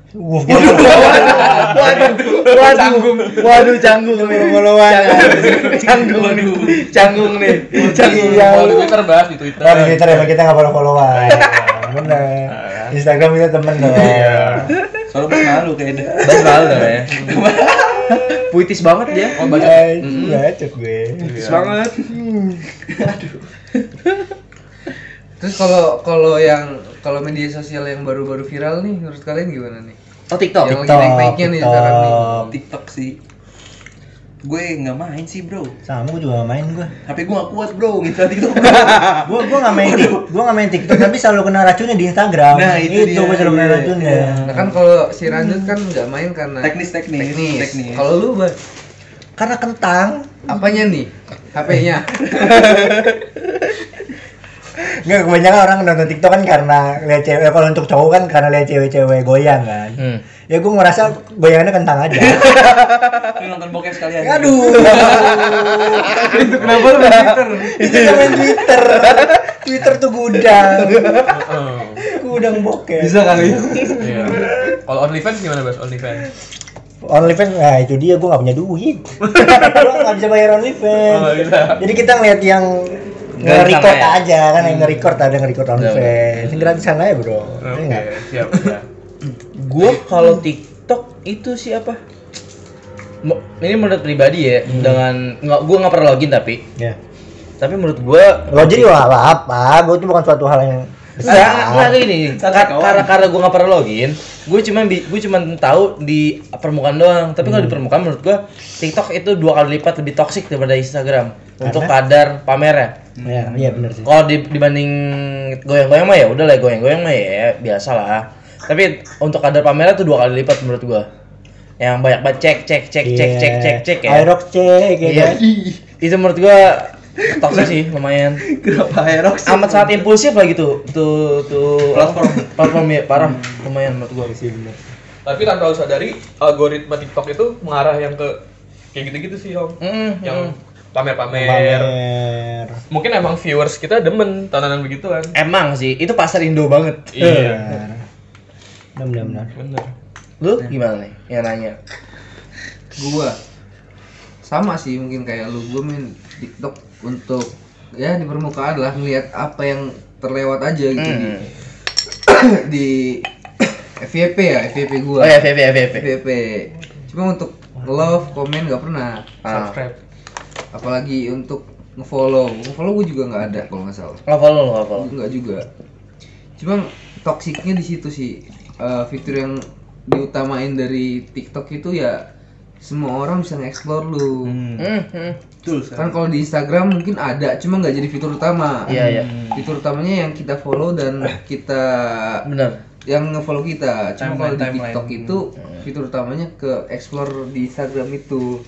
[SPEAKER 2] Wah, <laughs>
[SPEAKER 1] waduh, waduh, canggung, waduh, canggung nih, <laughs>
[SPEAKER 2] Follow-followan.
[SPEAKER 1] canggung, canggung nih, canggung nih, <laughs> canggung.
[SPEAKER 2] Iya.
[SPEAKER 4] Kalau di Twitter bahas di Twitter.
[SPEAKER 2] Nah, di Twitter ya, kita nggak follow followan. Bener. Instagram kita temen dong.
[SPEAKER 4] Iya.
[SPEAKER 3] Soalnya gua malu kayaknya.
[SPEAKER 1] Bas malu ya. Puitis banget dia.
[SPEAKER 4] Oh, banyak.
[SPEAKER 2] Guys, bacot Iya, gue.
[SPEAKER 1] Puitis banget.
[SPEAKER 5] Terus kalau kalau yang kalau media sosial yang baru-baru viral nih menurut kalian gimana nih?
[SPEAKER 1] Oh TikTok.
[SPEAKER 5] Yang lagi naik-naiknya nih sekarang nih.
[SPEAKER 2] TikTok.
[SPEAKER 3] TikTok sih. Gue nggak main sih, Bro.
[SPEAKER 2] Sama gue juga nggak main gue.
[SPEAKER 3] HP gue gak kuat, Bro. Gitu TikTok.
[SPEAKER 2] Gue gue nggak main tik, gue nggak main TikTok tapi selalu kena racunnya di Instagram.
[SPEAKER 3] Nah, itu dia.
[SPEAKER 2] gue selalu kena
[SPEAKER 3] Iya.
[SPEAKER 2] racunnya.
[SPEAKER 5] Nah kan kalau si Ranjut kan nggak main karena
[SPEAKER 3] Teknis-teknis,
[SPEAKER 5] teknis.
[SPEAKER 3] teknis.
[SPEAKER 5] Kalau lu Bas,
[SPEAKER 2] Karena kentang.
[SPEAKER 5] apanya nih? HP-nya.
[SPEAKER 2] Nggak kebanyakan orang nonton TikTok kan karena lihat cewek. Kalau untuk cowok kan karena lihat cewek-cewek goyang kan.
[SPEAKER 1] Hmm.
[SPEAKER 2] Ya gue ngerasa goyangannya kentang
[SPEAKER 1] <laughs>
[SPEAKER 2] aja.
[SPEAKER 3] Lu nonton bokep sekalian.
[SPEAKER 5] <laughs> Itu kenapa lu main Twitter?
[SPEAKER 2] itu kan main Twitter. Twitter tuh
[SPEAKER 5] <laughs>
[SPEAKER 2] gudang.
[SPEAKER 4] Heeh.
[SPEAKER 2] Gudang bokeh.
[SPEAKER 5] Bisa kali ya.
[SPEAKER 4] Iya. Kalau OnlyFans gimana, Bas? OnlyFans.
[SPEAKER 2] OnlyFans, nah itu dia gue nggak punya duit.
[SPEAKER 5] <laughs>
[SPEAKER 2] gue nggak bisa bayar OnlyFans.
[SPEAKER 4] Oh, nggak
[SPEAKER 5] iya.
[SPEAKER 4] bisa.
[SPEAKER 2] Jadi kita ngeliat yang
[SPEAKER 1] Nggak
[SPEAKER 2] nge-record
[SPEAKER 1] sama ya?
[SPEAKER 2] aja kan
[SPEAKER 5] Hmm.
[SPEAKER 2] yang nge-record ada nge-record OnlyFans. Ini gratisan aja bro. Iya
[SPEAKER 4] Oke,
[SPEAKER 2] nggak?
[SPEAKER 4] siap. ya.
[SPEAKER 1] Gue kalau TikTok itu siapa? Mo- Ini menurut pribadi ya, dengan nggak gue nggak pernah login tapi,
[SPEAKER 2] Ya.
[SPEAKER 1] tapi menurut gue
[SPEAKER 2] Lo jadi wah apa, apa? Gue tuh bukan suatu hal yang
[SPEAKER 1] Enggak, enggak
[SPEAKER 2] besar.
[SPEAKER 1] Nah, gini.
[SPEAKER 3] Satu
[SPEAKER 1] Kar-
[SPEAKER 3] kawan.
[SPEAKER 1] Karena karena gue nggak pernah login, gue cuman bi- gue cuman tahu di permukaan doang. Tapi kalau di permukaan menurut gue TikTok itu dua kali lipat lebih toksik daripada Instagram untuk kadar pamernya.
[SPEAKER 5] Hmm.
[SPEAKER 2] Ya, iya benar sih.
[SPEAKER 1] Kalau di- dibanding goyang-goyang mah ya udah lah goyang-goyang mah ya biasa lah. Tapi untuk kadar pamernya tuh dua kali lipat menurut gue. Yang banyak banget cek cek cek cek cek cek cek ya.
[SPEAKER 2] Aerox cek ya
[SPEAKER 1] Iya.
[SPEAKER 2] kan?
[SPEAKER 1] Itu menurut gue toksik sih lumayan
[SPEAKER 3] Kenapa Aerox?
[SPEAKER 1] amat sangat impulsif lah gitu tuh tuh
[SPEAKER 3] Platform.
[SPEAKER 1] platform ya parah lumayan menurut gua
[SPEAKER 2] Iya, bener.
[SPEAKER 4] Tapi tanpa harus sadari, algoritma TikTok itu mengarah yang ke kayak gitu-gitu sih, Om.
[SPEAKER 1] Mm,
[SPEAKER 4] Yang
[SPEAKER 1] mm.
[SPEAKER 4] pamer-pamer.
[SPEAKER 2] Pamer.
[SPEAKER 4] Mungkin emang viewers kita demen tontonan begituan.
[SPEAKER 1] emang sih itu pasar Indo banget
[SPEAKER 4] Iya.
[SPEAKER 2] Benar benar benar.
[SPEAKER 4] Bener.
[SPEAKER 1] lu gimana nih yang nanya
[SPEAKER 5] gua sama sih mungkin kayak lu gua main TikTok untuk ya di permukaan lah ngelihat apa yang terlewat aja gitu di
[SPEAKER 1] Hmm.
[SPEAKER 5] <coughs> di FYP ya FYP gua
[SPEAKER 1] oh ya VP VP
[SPEAKER 5] FYP cuma untuk love komen nggak pernah
[SPEAKER 1] Ah.
[SPEAKER 4] Subscribe.
[SPEAKER 5] apalagi untuk ngefollow ngefollow gue juga nggak ada kalau nggak salah
[SPEAKER 1] Nggak follow lo, nggak follow.
[SPEAKER 5] nggak juga cuma toksiknya di situ sih Eh, fitur yang diutamain dari TikTok itu ya semua orang bisa nge-explore lu
[SPEAKER 1] Hmm, hmm.
[SPEAKER 3] Betul,
[SPEAKER 5] kan kalau di Instagram mungkin ada cuma nggak jadi fitur utama
[SPEAKER 1] Iya, iya.
[SPEAKER 5] fitur utamanya yang kita follow dan kita
[SPEAKER 1] Benar.
[SPEAKER 5] yang nge-follow kita
[SPEAKER 3] Timeline,
[SPEAKER 5] cuma kalau di
[SPEAKER 3] timeline.
[SPEAKER 5] TikTok itu
[SPEAKER 1] Hmm.
[SPEAKER 5] fitur utamanya ke explore di Instagram itu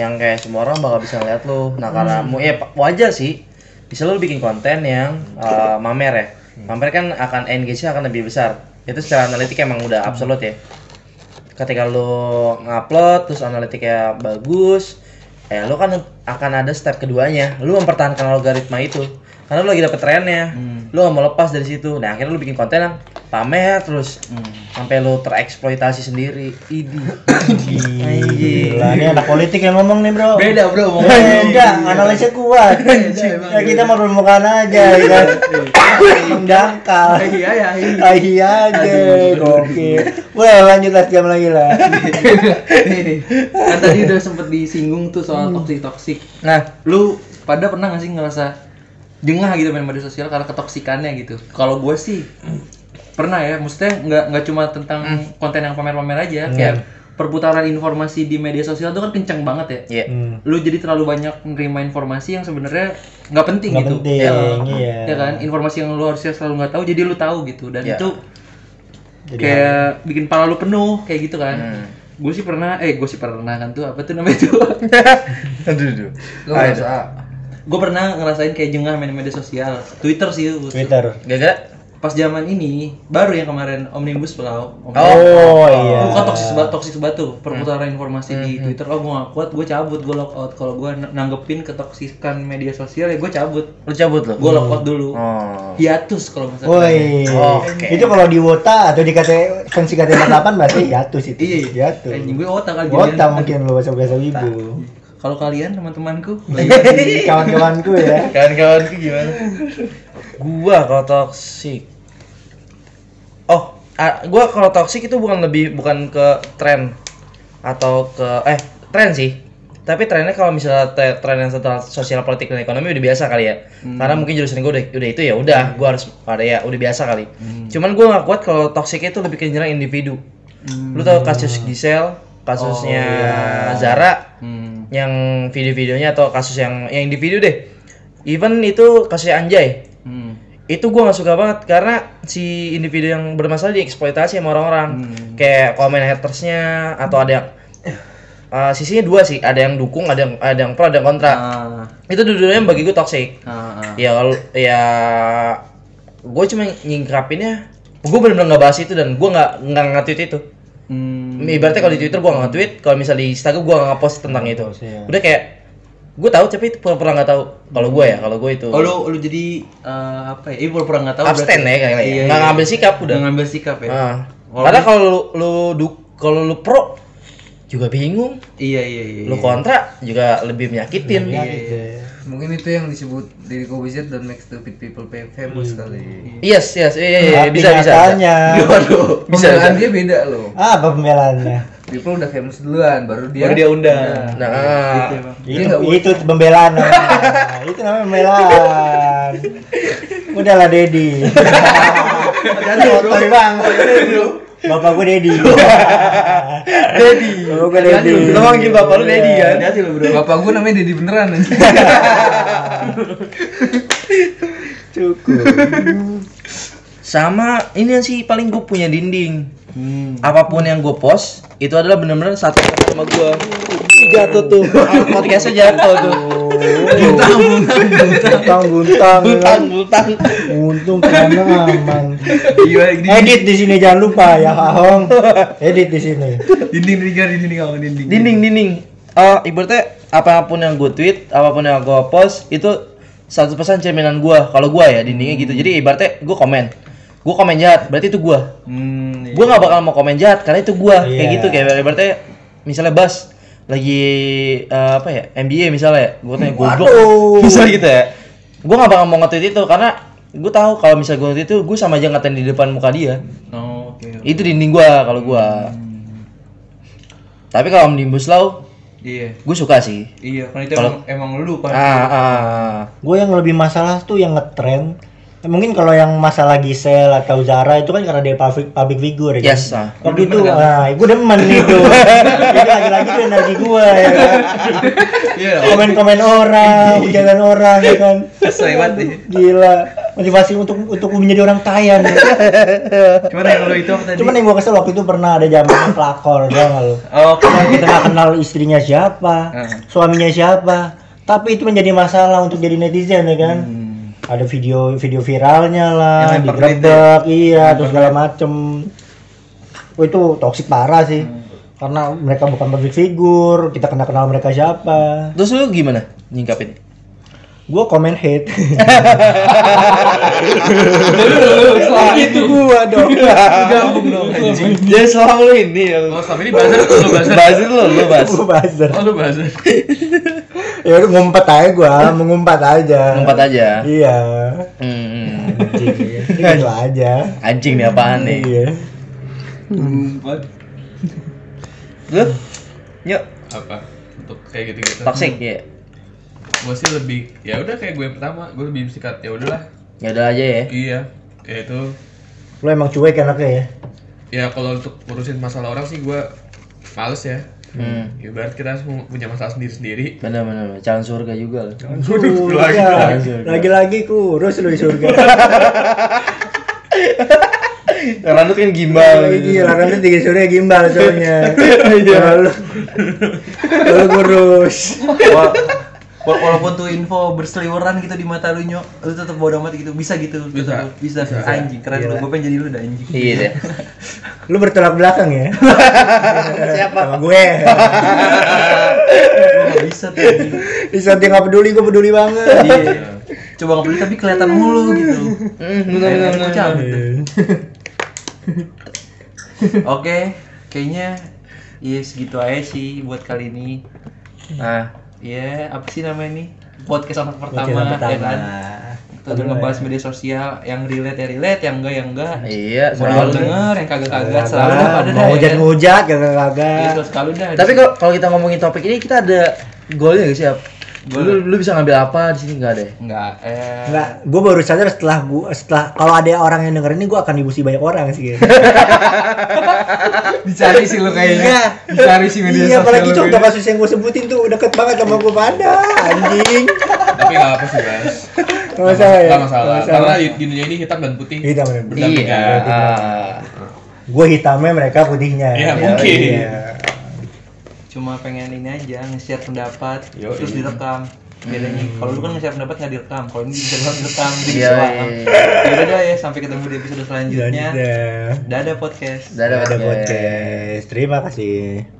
[SPEAKER 1] Yang kayak semua orang bakal bisa ngeliat lo. Nah, karena mu ya pa- wajar sih. Bisa lo bikin konten yang eh, mamer ya. Mamer kan akan engage-nya akan lebih besar. Itu secara analitik emang udah absolut ya. Ketika lo ngupload terus analitiknya bagus, eh lo kan akan ada step keduanya. Lo mempertahankan algoritma itu. Karena lo lagi dapet trennya, lo gak mau lepas dari situ. Nah akhirnya lo bikin konten yang pamer terus, sampai lo tereksploitasi sendiri. Idi, <coughs> Anjing.
[SPEAKER 2] Gila, ini anak politik yang ngomong nih bro.
[SPEAKER 3] Beda bro
[SPEAKER 2] Enggak, analisnya kuat. ya kita merumukkan aja, ya kan. Mendangkal.
[SPEAKER 3] Iya ya. <laughs>
[SPEAKER 2] Ahi aja, gokil. Wah, lanjut lah jam lagi lah.
[SPEAKER 3] Kan tadi udah sempet disinggung tuh soal toxic toxic.
[SPEAKER 1] Nah
[SPEAKER 3] Lu pada pernah nggak sih ngerasa jengah gitu main media sosial karena ketoksikannya gitu? Kalau gue sih pernah ya. Maksudnya nggak nggak cuma tentang
[SPEAKER 2] Hmm.
[SPEAKER 3] konten yang pamer-pamer aja. Kayak perputaran informasi di media sosial tuh kan kenceng banget ya.
[SPEAKER 1] Iya.
[SPEAKER 3] lu jadi terlalu banyak nerima informasi yang sebenarnya nggak penting
[SPEAKER 2] Nggak
[SPEAKER 3] gitu
[SPEAKER 2] penting,
[SPEAKER 3] ya,
[SPEAKER 2] iya.
[SPEAKER 3] ya kan informasi yang lu harusnya selalu nggak tahu jadi lu tahu gitu dan
[SPEAKER 1] Iya.
[SPEAKER 3] itu kayak bikin pala lu penuh kayak gitu kan
[SPEAKER 2] Hmm.
[SPEAKER 3] gue sih pernah eh gue sih pernah kan tuh apa tuh namanya tuh <laughs>
[SPEAKER 1] Aduh, aduh.
[SPEAKER 5] lo merasa
[SPEAKER 3] gue pernah ngerasain kayak jengah main media sosial twitter sih gua.
[SPEAKER 2] Twitter.
[SPEAKER 1] Gara-gara
[SPEAKER 3] pas zaman ini baru yang kemarin omnibus law
[SPEAKER 1] Oh,
[SPEAKER 3] Omnibus
[SPEAKER 1] Hmm.
[SPEAKER 2] Oh iya.
[SPEAKER 3] Bukan toksis banget, toksis banget tuh perputaran informasi di Twitter. Oh, gue gak kuat, gue cabut, gue lock out. Kalau gue nanggepin ketoksikan media sosial ya gue cabut.
[SPEAKER 1] lu cabut lo.
[SPEAKER 3] Gue lock out dulu.
[SPEAKER 1] Oh.
[SPEAKER 3] Hiatus kalau nggak salah.
[SPEAKER 2] Woi.
[SPEAKER 1] Oke.
[SPEAKER 2] Itu kalau di Wota atau di KT fungsi KT 48 berarti jatuh sih.
[SPEAKER 3] Iya, iya.
[SPEAKER 2] jatuh.
[SPEAKER 3] Anjing gue otak kali
[SPEAKER 2] Wota
[SPEAKER 3] jadian.
[SPEAKER 2] mungkin lu bahasa bahasa ibu.
[SPEAKER 3] Kalau kalian teman-temanku
[SPEAKER 1] Hmm.
[SPEAKER 2] Kawan-kawanku
[SPEAKER 3] Iya,
[SPEAKER 2] ya.
[SPEAKER 1] Kawan-kawanku gimana? gua kalau toksik. Oh, ah, gua kalau toksik itu bukan lebih bukan ke tren atau ke eh tren sih. Tapi trennya kalau misalnya te- tren yang setelah sosial politik dan ekonomi udah biasa kali ya. Karena mungkin jurusan gua udah, udah itu ya udah, gua harus ada ya udah biasa kali. Cuman gua nggak kuat kalau toksik itu lebih ke nyerang individu. Lu tau kasus Gisel, kasusnya Zara,
[SPEAKER 3] Hmm.
[SPEAKER 1] yang video-videonya atau kasus yang yang individu deh even itu kasusnya Anjay
[SPEAKER 3] Hmm.
[SPEAKER 1] itu gua nggak suka banget karena si individu yang bermasalah dieksploitasi sama orang-orang
[SPEAKER 3] Hmm.
[SPEAKER 1] kayak komen hatersnya atau ada yang Eh, sisinya dua sih ada yang dukung ada yang ada yang pro ada yang kontra
[SPEAKER 3] Ah,
[SPEAKER 1] itu dua-duanya bagi gue toxic
[SPEAKER 3] ah, ah.
[SPEAKER 1] ya kalau ya gue cuma nyingkrapinnya gue bener-bener nggak bahas itu dan gua nggak nggak nge-tweet itu
[SPEAKER 3] Hmm.
[SPEAKER 1] ibaratnya kalau di Twitter gua nggak tweet kalau misalnya di Instagram gua nggak post tentang itu
[SPEAKER 3] Iya.
[SPEAKER 1] udah kayak gua tahu tapi itu pura-pura nggak tahu kalau gua ya kalau gua itu
[SPEAKER 3] Oh lu, lu jadi eh, apa ya? Ini pura-pura nggak tahu.
[SPEAKER 1] abstain ya
[SPEAKER 3] berarti.
[SPEAKER 1] kayaknya
[SPEAKER 3] Iya,
[SPEAKER 1] nggak
[SPEAKER 3] iya.
[SPEAKER 1] ngambil sikap
[SPEAKER 3] Udah
[SPEAKER 1] udah
[SPEAKER 3] ngambil sikap ya.
[SPEAKER 1] Ah.
[SPEAKER 3] Kalau
[SPEAKER 1] karena kalau lu, lu du- kalau lu pro juga bingung
[SPEAKER 3] Iya iya iya.
[SPEAKER 1] lu kontra juga lebih menyakitin
[SPEAKER 5] mungkin itu yang disebut dari Corbusier dan make stupid people pay famous kali
[SPEAKER 1] yes yes iya iya, iya,
[SPEAKER 2] Tapi
[SPEAKER 1] bisa bisa, bisa.
[SPEAKER 2] nyatanya. ah,
[SPEAKER 3] Waduh.
[SPEAKER 5] pembelaan dia beda loh
[SPEAKER 2] Apa pembelaannya?
[SPEAKER 5] people udah famous duluan baru dia
[SPEAKER 3] Baru dia
[SPEAKER 1] nah
[SPEAKER 3] undang. gitu ya,
[SPEAKER 1] Iya
[SPEAKER 5] Dia
[SPEAKER 2] Itu,
[SPEAKER 5] nggak
[SPEAKER 2] itu pembelaan namanya. itu namanya pembelaan. Udahlah Dedi. Sorry bang. Bapak gue Dedi. Dedi. Bapak gue Dedi.
[SPEAKER 1] lu manggil bapak lu Dedi kan
[SPEAKER 3] Hati-hati lu bro.
[SPEAKER 5] bapak gue namanya Dedi beneran <laughs>
[SPEAKER 2] Cukup.
[SPEAKER 1] sama ini sih paling gue punya dinding
[SPEAKER 3] Hmm.
[SPEAKER 1] apapun yang gue post itu adalah benar-benar satu <laughs> sama gue jatuh tuh podcastnya jatuh tuh
[SPEAKER 2] Buntang, buntang.
[SPEAKER 1] butang butang
[SPEAKER 2] Untung karena aman.
[SPEAKER 3] Iya dinding
[SPEAKER 2] Edit di sini jangan lupa ya Ahong. Edit di sini.
[SPEAKER 3] dinding dinding dinding kamu dinding.
[SPEAKER 1] dinding dinding Eh, ibaratnya apapun yang gue tweet apapun yang gue post itu 100% cerminan gue kalau gue ya dindingnya gitu jadi ibaratnya gue komen gue komen jahat berarti itu gue
[SPEAKER 3] Hmm.
[SPEAKER 1] gue nggak bakal mau komen jahat karena itu gue kayak
[SPEAKER 2] Iya.
[SPEAKER 1] gitu kayak ibaratnya misalnya Bas lagi eh, apa ya NBA misalnya ya gue tanya goblok <laughs> misalnya gitu ya gue nggak bakal mau nge-tweet itu karena gue tahu kalau misalnya gue nge-tweet itu gue sama aja ngatain di depan muka dia
[SPEAKER 3] Oh, oke.
[SPEAKER 1] itu dinding gue kalau gue tapi kalau omnibus law
[SPEAKER 3] Iya.
[SPEAKER 1] Gue suka sih.
[SPEAKER 3] Iya, kan itu
[SPEAKER 1] Kalau-
[SPEAKER 3] emang, emang lu
[SPEAKER 1] Ah,
[SPEAKER 3] kan.
[SPEAKER 1] ah.
[SPEAKER 2] Gue yang lebih masalah tuh yang ngetrend. Ya, Mungkin kalau yang masalah Gisel atau Zara itu kan karena dia public, public figure ya.
[SPEAKER 1] Yes, ah.
[SPEAKER 2] kan? Kalau gitu, ah, gue demen itu. Jadi lagi-lagi tuh energi gue ya kan.
[SPEAKER 3] Iya.
[SPEAKER 2] Komen-komen orang, jalan orang ya kan.
[SPEAKER 3] Sesuai banget nih.
[SPEAKER 2] Gila, motivasi untuk untuk menjadi orang kaya nih.
[SPEAKER 3] Cuman yang lu itu apa tadi?
[SPEAKER 2] Cuman yang gue kesel waktu itu pernah ada zaman pelakor, tau gak lu?
[SPEAKER 3] Oh,
[SPEAKER 2] Orang Nah, kita
[SPEAKER 3] <laughs>
[SPEAKER 2] nggak kenal istrinya siapa,
[SPEAKER 3] Heeh.
[SPEAKER 2] suaminya siapa, tapi itu menjadi masalah untuk jadi netizen ya kan. Ada video video viralnya lah,
[SPEAKER 3] Hmm. Yang ya? lempar
[SPEAKER 2] digrebek, iya, terus segala macem. Oh, itu toksik parah sih,
[SPEAKER 3] Hmm.
[SPEAKER 2] karena mereka bukan public figure, kita kena kenal mereka siapa.
[SPEAKER 1] Terus lu gimana nyingkapin?
[SPEAKER 2] Gue komen hate, <laughs>
[SPEAKER 1] itu gua dong.
[SPEAKER 3] gabung dong anjing.
[SPEAKER 1] Jadi selama lu ini
[SPEAKER 3] <laughs>
[SPEAKER 1] ya.
[SPEAKER 4] Oh, selama ini buzzer lu buzzer.
[SPEAKER 1] Bazir lu, lu bas.
[SPEAKER 2] gue buzzer.
[SPEAKER 4] Oh, lu buzzer.
[SPEAKER 2] Ya udah ngumpet aja gue, mengumpat aja.
[SPEAKER 1] Empat aja.
[SPEAKER 2] Iya.
[SPEAKER 1] Hmm,
[SPEAKER 2] Anjing,
[SPEAKER 3] iya.
[SPEAKER 2] ya. <laughs> gitu aja.
[SPEAKER 1] anjing nih apaan nih?
[SPEAKER 2] Iya.
[SPEAKER 1] Lu? Yuk,
[SPEAKER 4] Apa? Untuk kayak gitu-gitu.
[SPEAKER 1] toxic ya.
[SPEAKER 4] Gue sih lebih ya udah kayak gue yang pertama, gue lebih sikat ya udahlah.
[SPEAKER 1] Ya udah aja ya.
[SPEAKER 4] Iya. Kayak itu
[SPEAKER 2] Lo emang cuek anaknya ya?
[SPEAKER 4] ya kalau untuk ngurusin masalah orang sih gue males ya.
[SPEAKER 1] Hmm.
[SPEAKER 4] Ya berarti kita semua punya masalah sendiri-sendiri.
[SPEAKER 1] Bener bener, bener. calon surga juga lu.
[SPEAKER 2] Surga. iya. Lagi-lagi kurus lu di
[SPEAKER 5] <laughs>
[SPEAKER 2] surga.
[SPEAKER 1] Ranut kan gimbal.
[SPEAKER 2] Lagi-lagi gila, kan tiga surga gimbal soalnya.
[SPEAKER 5] Iya.
[SPEAKER 2] Kalau kalau kurus.
[SPEAKER 3] Wal- wal- walaupun tuh info berseliweran gitu di mata lu nyok, lu tetap bodo amat gitu. Bisa gitu. lu
[SPEAKER 4] Bisa.
[SPEAKER 3] tetep- Bisa. Anjing, keren lu. Gue pengen jadi lu dah anjing.
[SPEAKER 1] Iya deh.
[SPEAKER 2] Lu bertolak belakang
[SPEAKER 5] <laughs>
[SPEAKER 2] ya?
[SPEAKER 1] Siapa?
[SPEAKER 2] Sama gue.
[SPEAKER 3] Gua nggak bisa tuh. anjing.
[SPEAKER 2] Di saat dia nggak peduli, gue peduli banget.
[SPEAKER 3] Iya. Coba nggak peduli tapi kelihatan mulu gitu.
[SPEAKER 1] Hmm, bener bener. bener.
[SPEAKER 3] Gua cabut. Oke, kayaknya Iya segitu aja sih buat kali ini.
[SPEAKER 1] Nah,
[SPEAKER 3] Iya, apa sih namanya ini? Podcast anak pertama,
[SPEAKER 2] Oke, yang
[SPEAKER 3] ya
[SPEAKER 2] pertama.
[SPEAKER 3] kan? Kita udah ngebahas media sosial yang relate ya relate, yang enggak ya enggak.
[SPEAKER 1] iya,
[SPEAKER 3] Selalu
[SPEAKER 1] selalu.
[SPEAKER 3] denger, yang kagak-kagak selalu dah
[SPEAKER 2] Salah,
[SPEAKER 3] pada
[SPEAKER 2] mau
[SPEAKER 3] dah. ya kan?
[SPEAKER 2] hujat-hujat,
[SPEAKER 3] Iya,
[SPEAKER 2] kagak-kagak.
[SPEAKER 3] selalu dah.
[SPEAKER 1] Tapi kok kalau kita ngomongin topik ini kita ada goalnya gak sih? Ap?
[SPEAKER 3] Goal.
[SPEAKER 1] Lu, lu bisa ngambil apa di sini nggak ya? deh?
[SPEAKER 3] enggak eh
[SPEAKER 2] Enggak, gue baru sadar setelah gua setelah kalau ada orang yang denger ini gue akan dibusi banyak orang sih.
[SPEAKER 5] <laughs> Dicari sih lu
[SPEAKER 2] Iya.
[SPEAKER 5] kayaknya. Dicari sih media
[SPEAKER 2] Iya, apalagi
[SPEAKER 5] sosial.
[SPEAKER 2] cok
[SPEAKER 5] lu
[SPEAKER 2] udah
[SPEAKER 5] kayaknya.
[SPEAKER 2] kasus yang gue sebutin tuh deket banget sama gue pada anjing.
[SPEAKER 4] Tapi nggak apa sih, Bas.
[SPEAKER 2] Gak masalah ya.
[SPEAKER 4] <laughs> Nggak masalah. Karena di dunia ini hitam dan putih.
[SPEAKER 2] Hitam
[SPEAKER 3] Iya,
[SPEAKER 2] dan putih.
[SPEAKER 4] Berdampingan.
[SPEAKER 1] Iya. ah.
[SPEAKER 2] Gue hitamnya mereka putihnya.
[SPEAKER 4] Iya, mungkin.
[SPEAKER 2] Iya.
[SPEAKER 3] cuma pengen ini aja nge-share pendapat
[SPEAKER 4] Yoi.
[SPEAKER 3] terus
[SPEAKER 1] iya.
[SPEAKER 3] direkam bedanya kalau lu kan nge-share pendapat nggak direkam kalau ini bisa banget direkam jadi
[SPEAKER 1] Hmm. Iya,
[SPEAKER 3] bisa
[SPEAKER 1] iya,
[SPEAKER 3] ya udah ya sampai ketemu di episode
[SPEAKER 2] Dan
[SPEAKER 3] selanjutnya
[SPEAKER 1] ya.
[SPEAKER 2] eh,
[SPEAKER 3] dadah podcast
[SPEAKER 1] Dadah,
[SPEAKER 2] ada
[SPEAKER 1] podcast.
[SPEAKER 2] podcast. Terima kasih.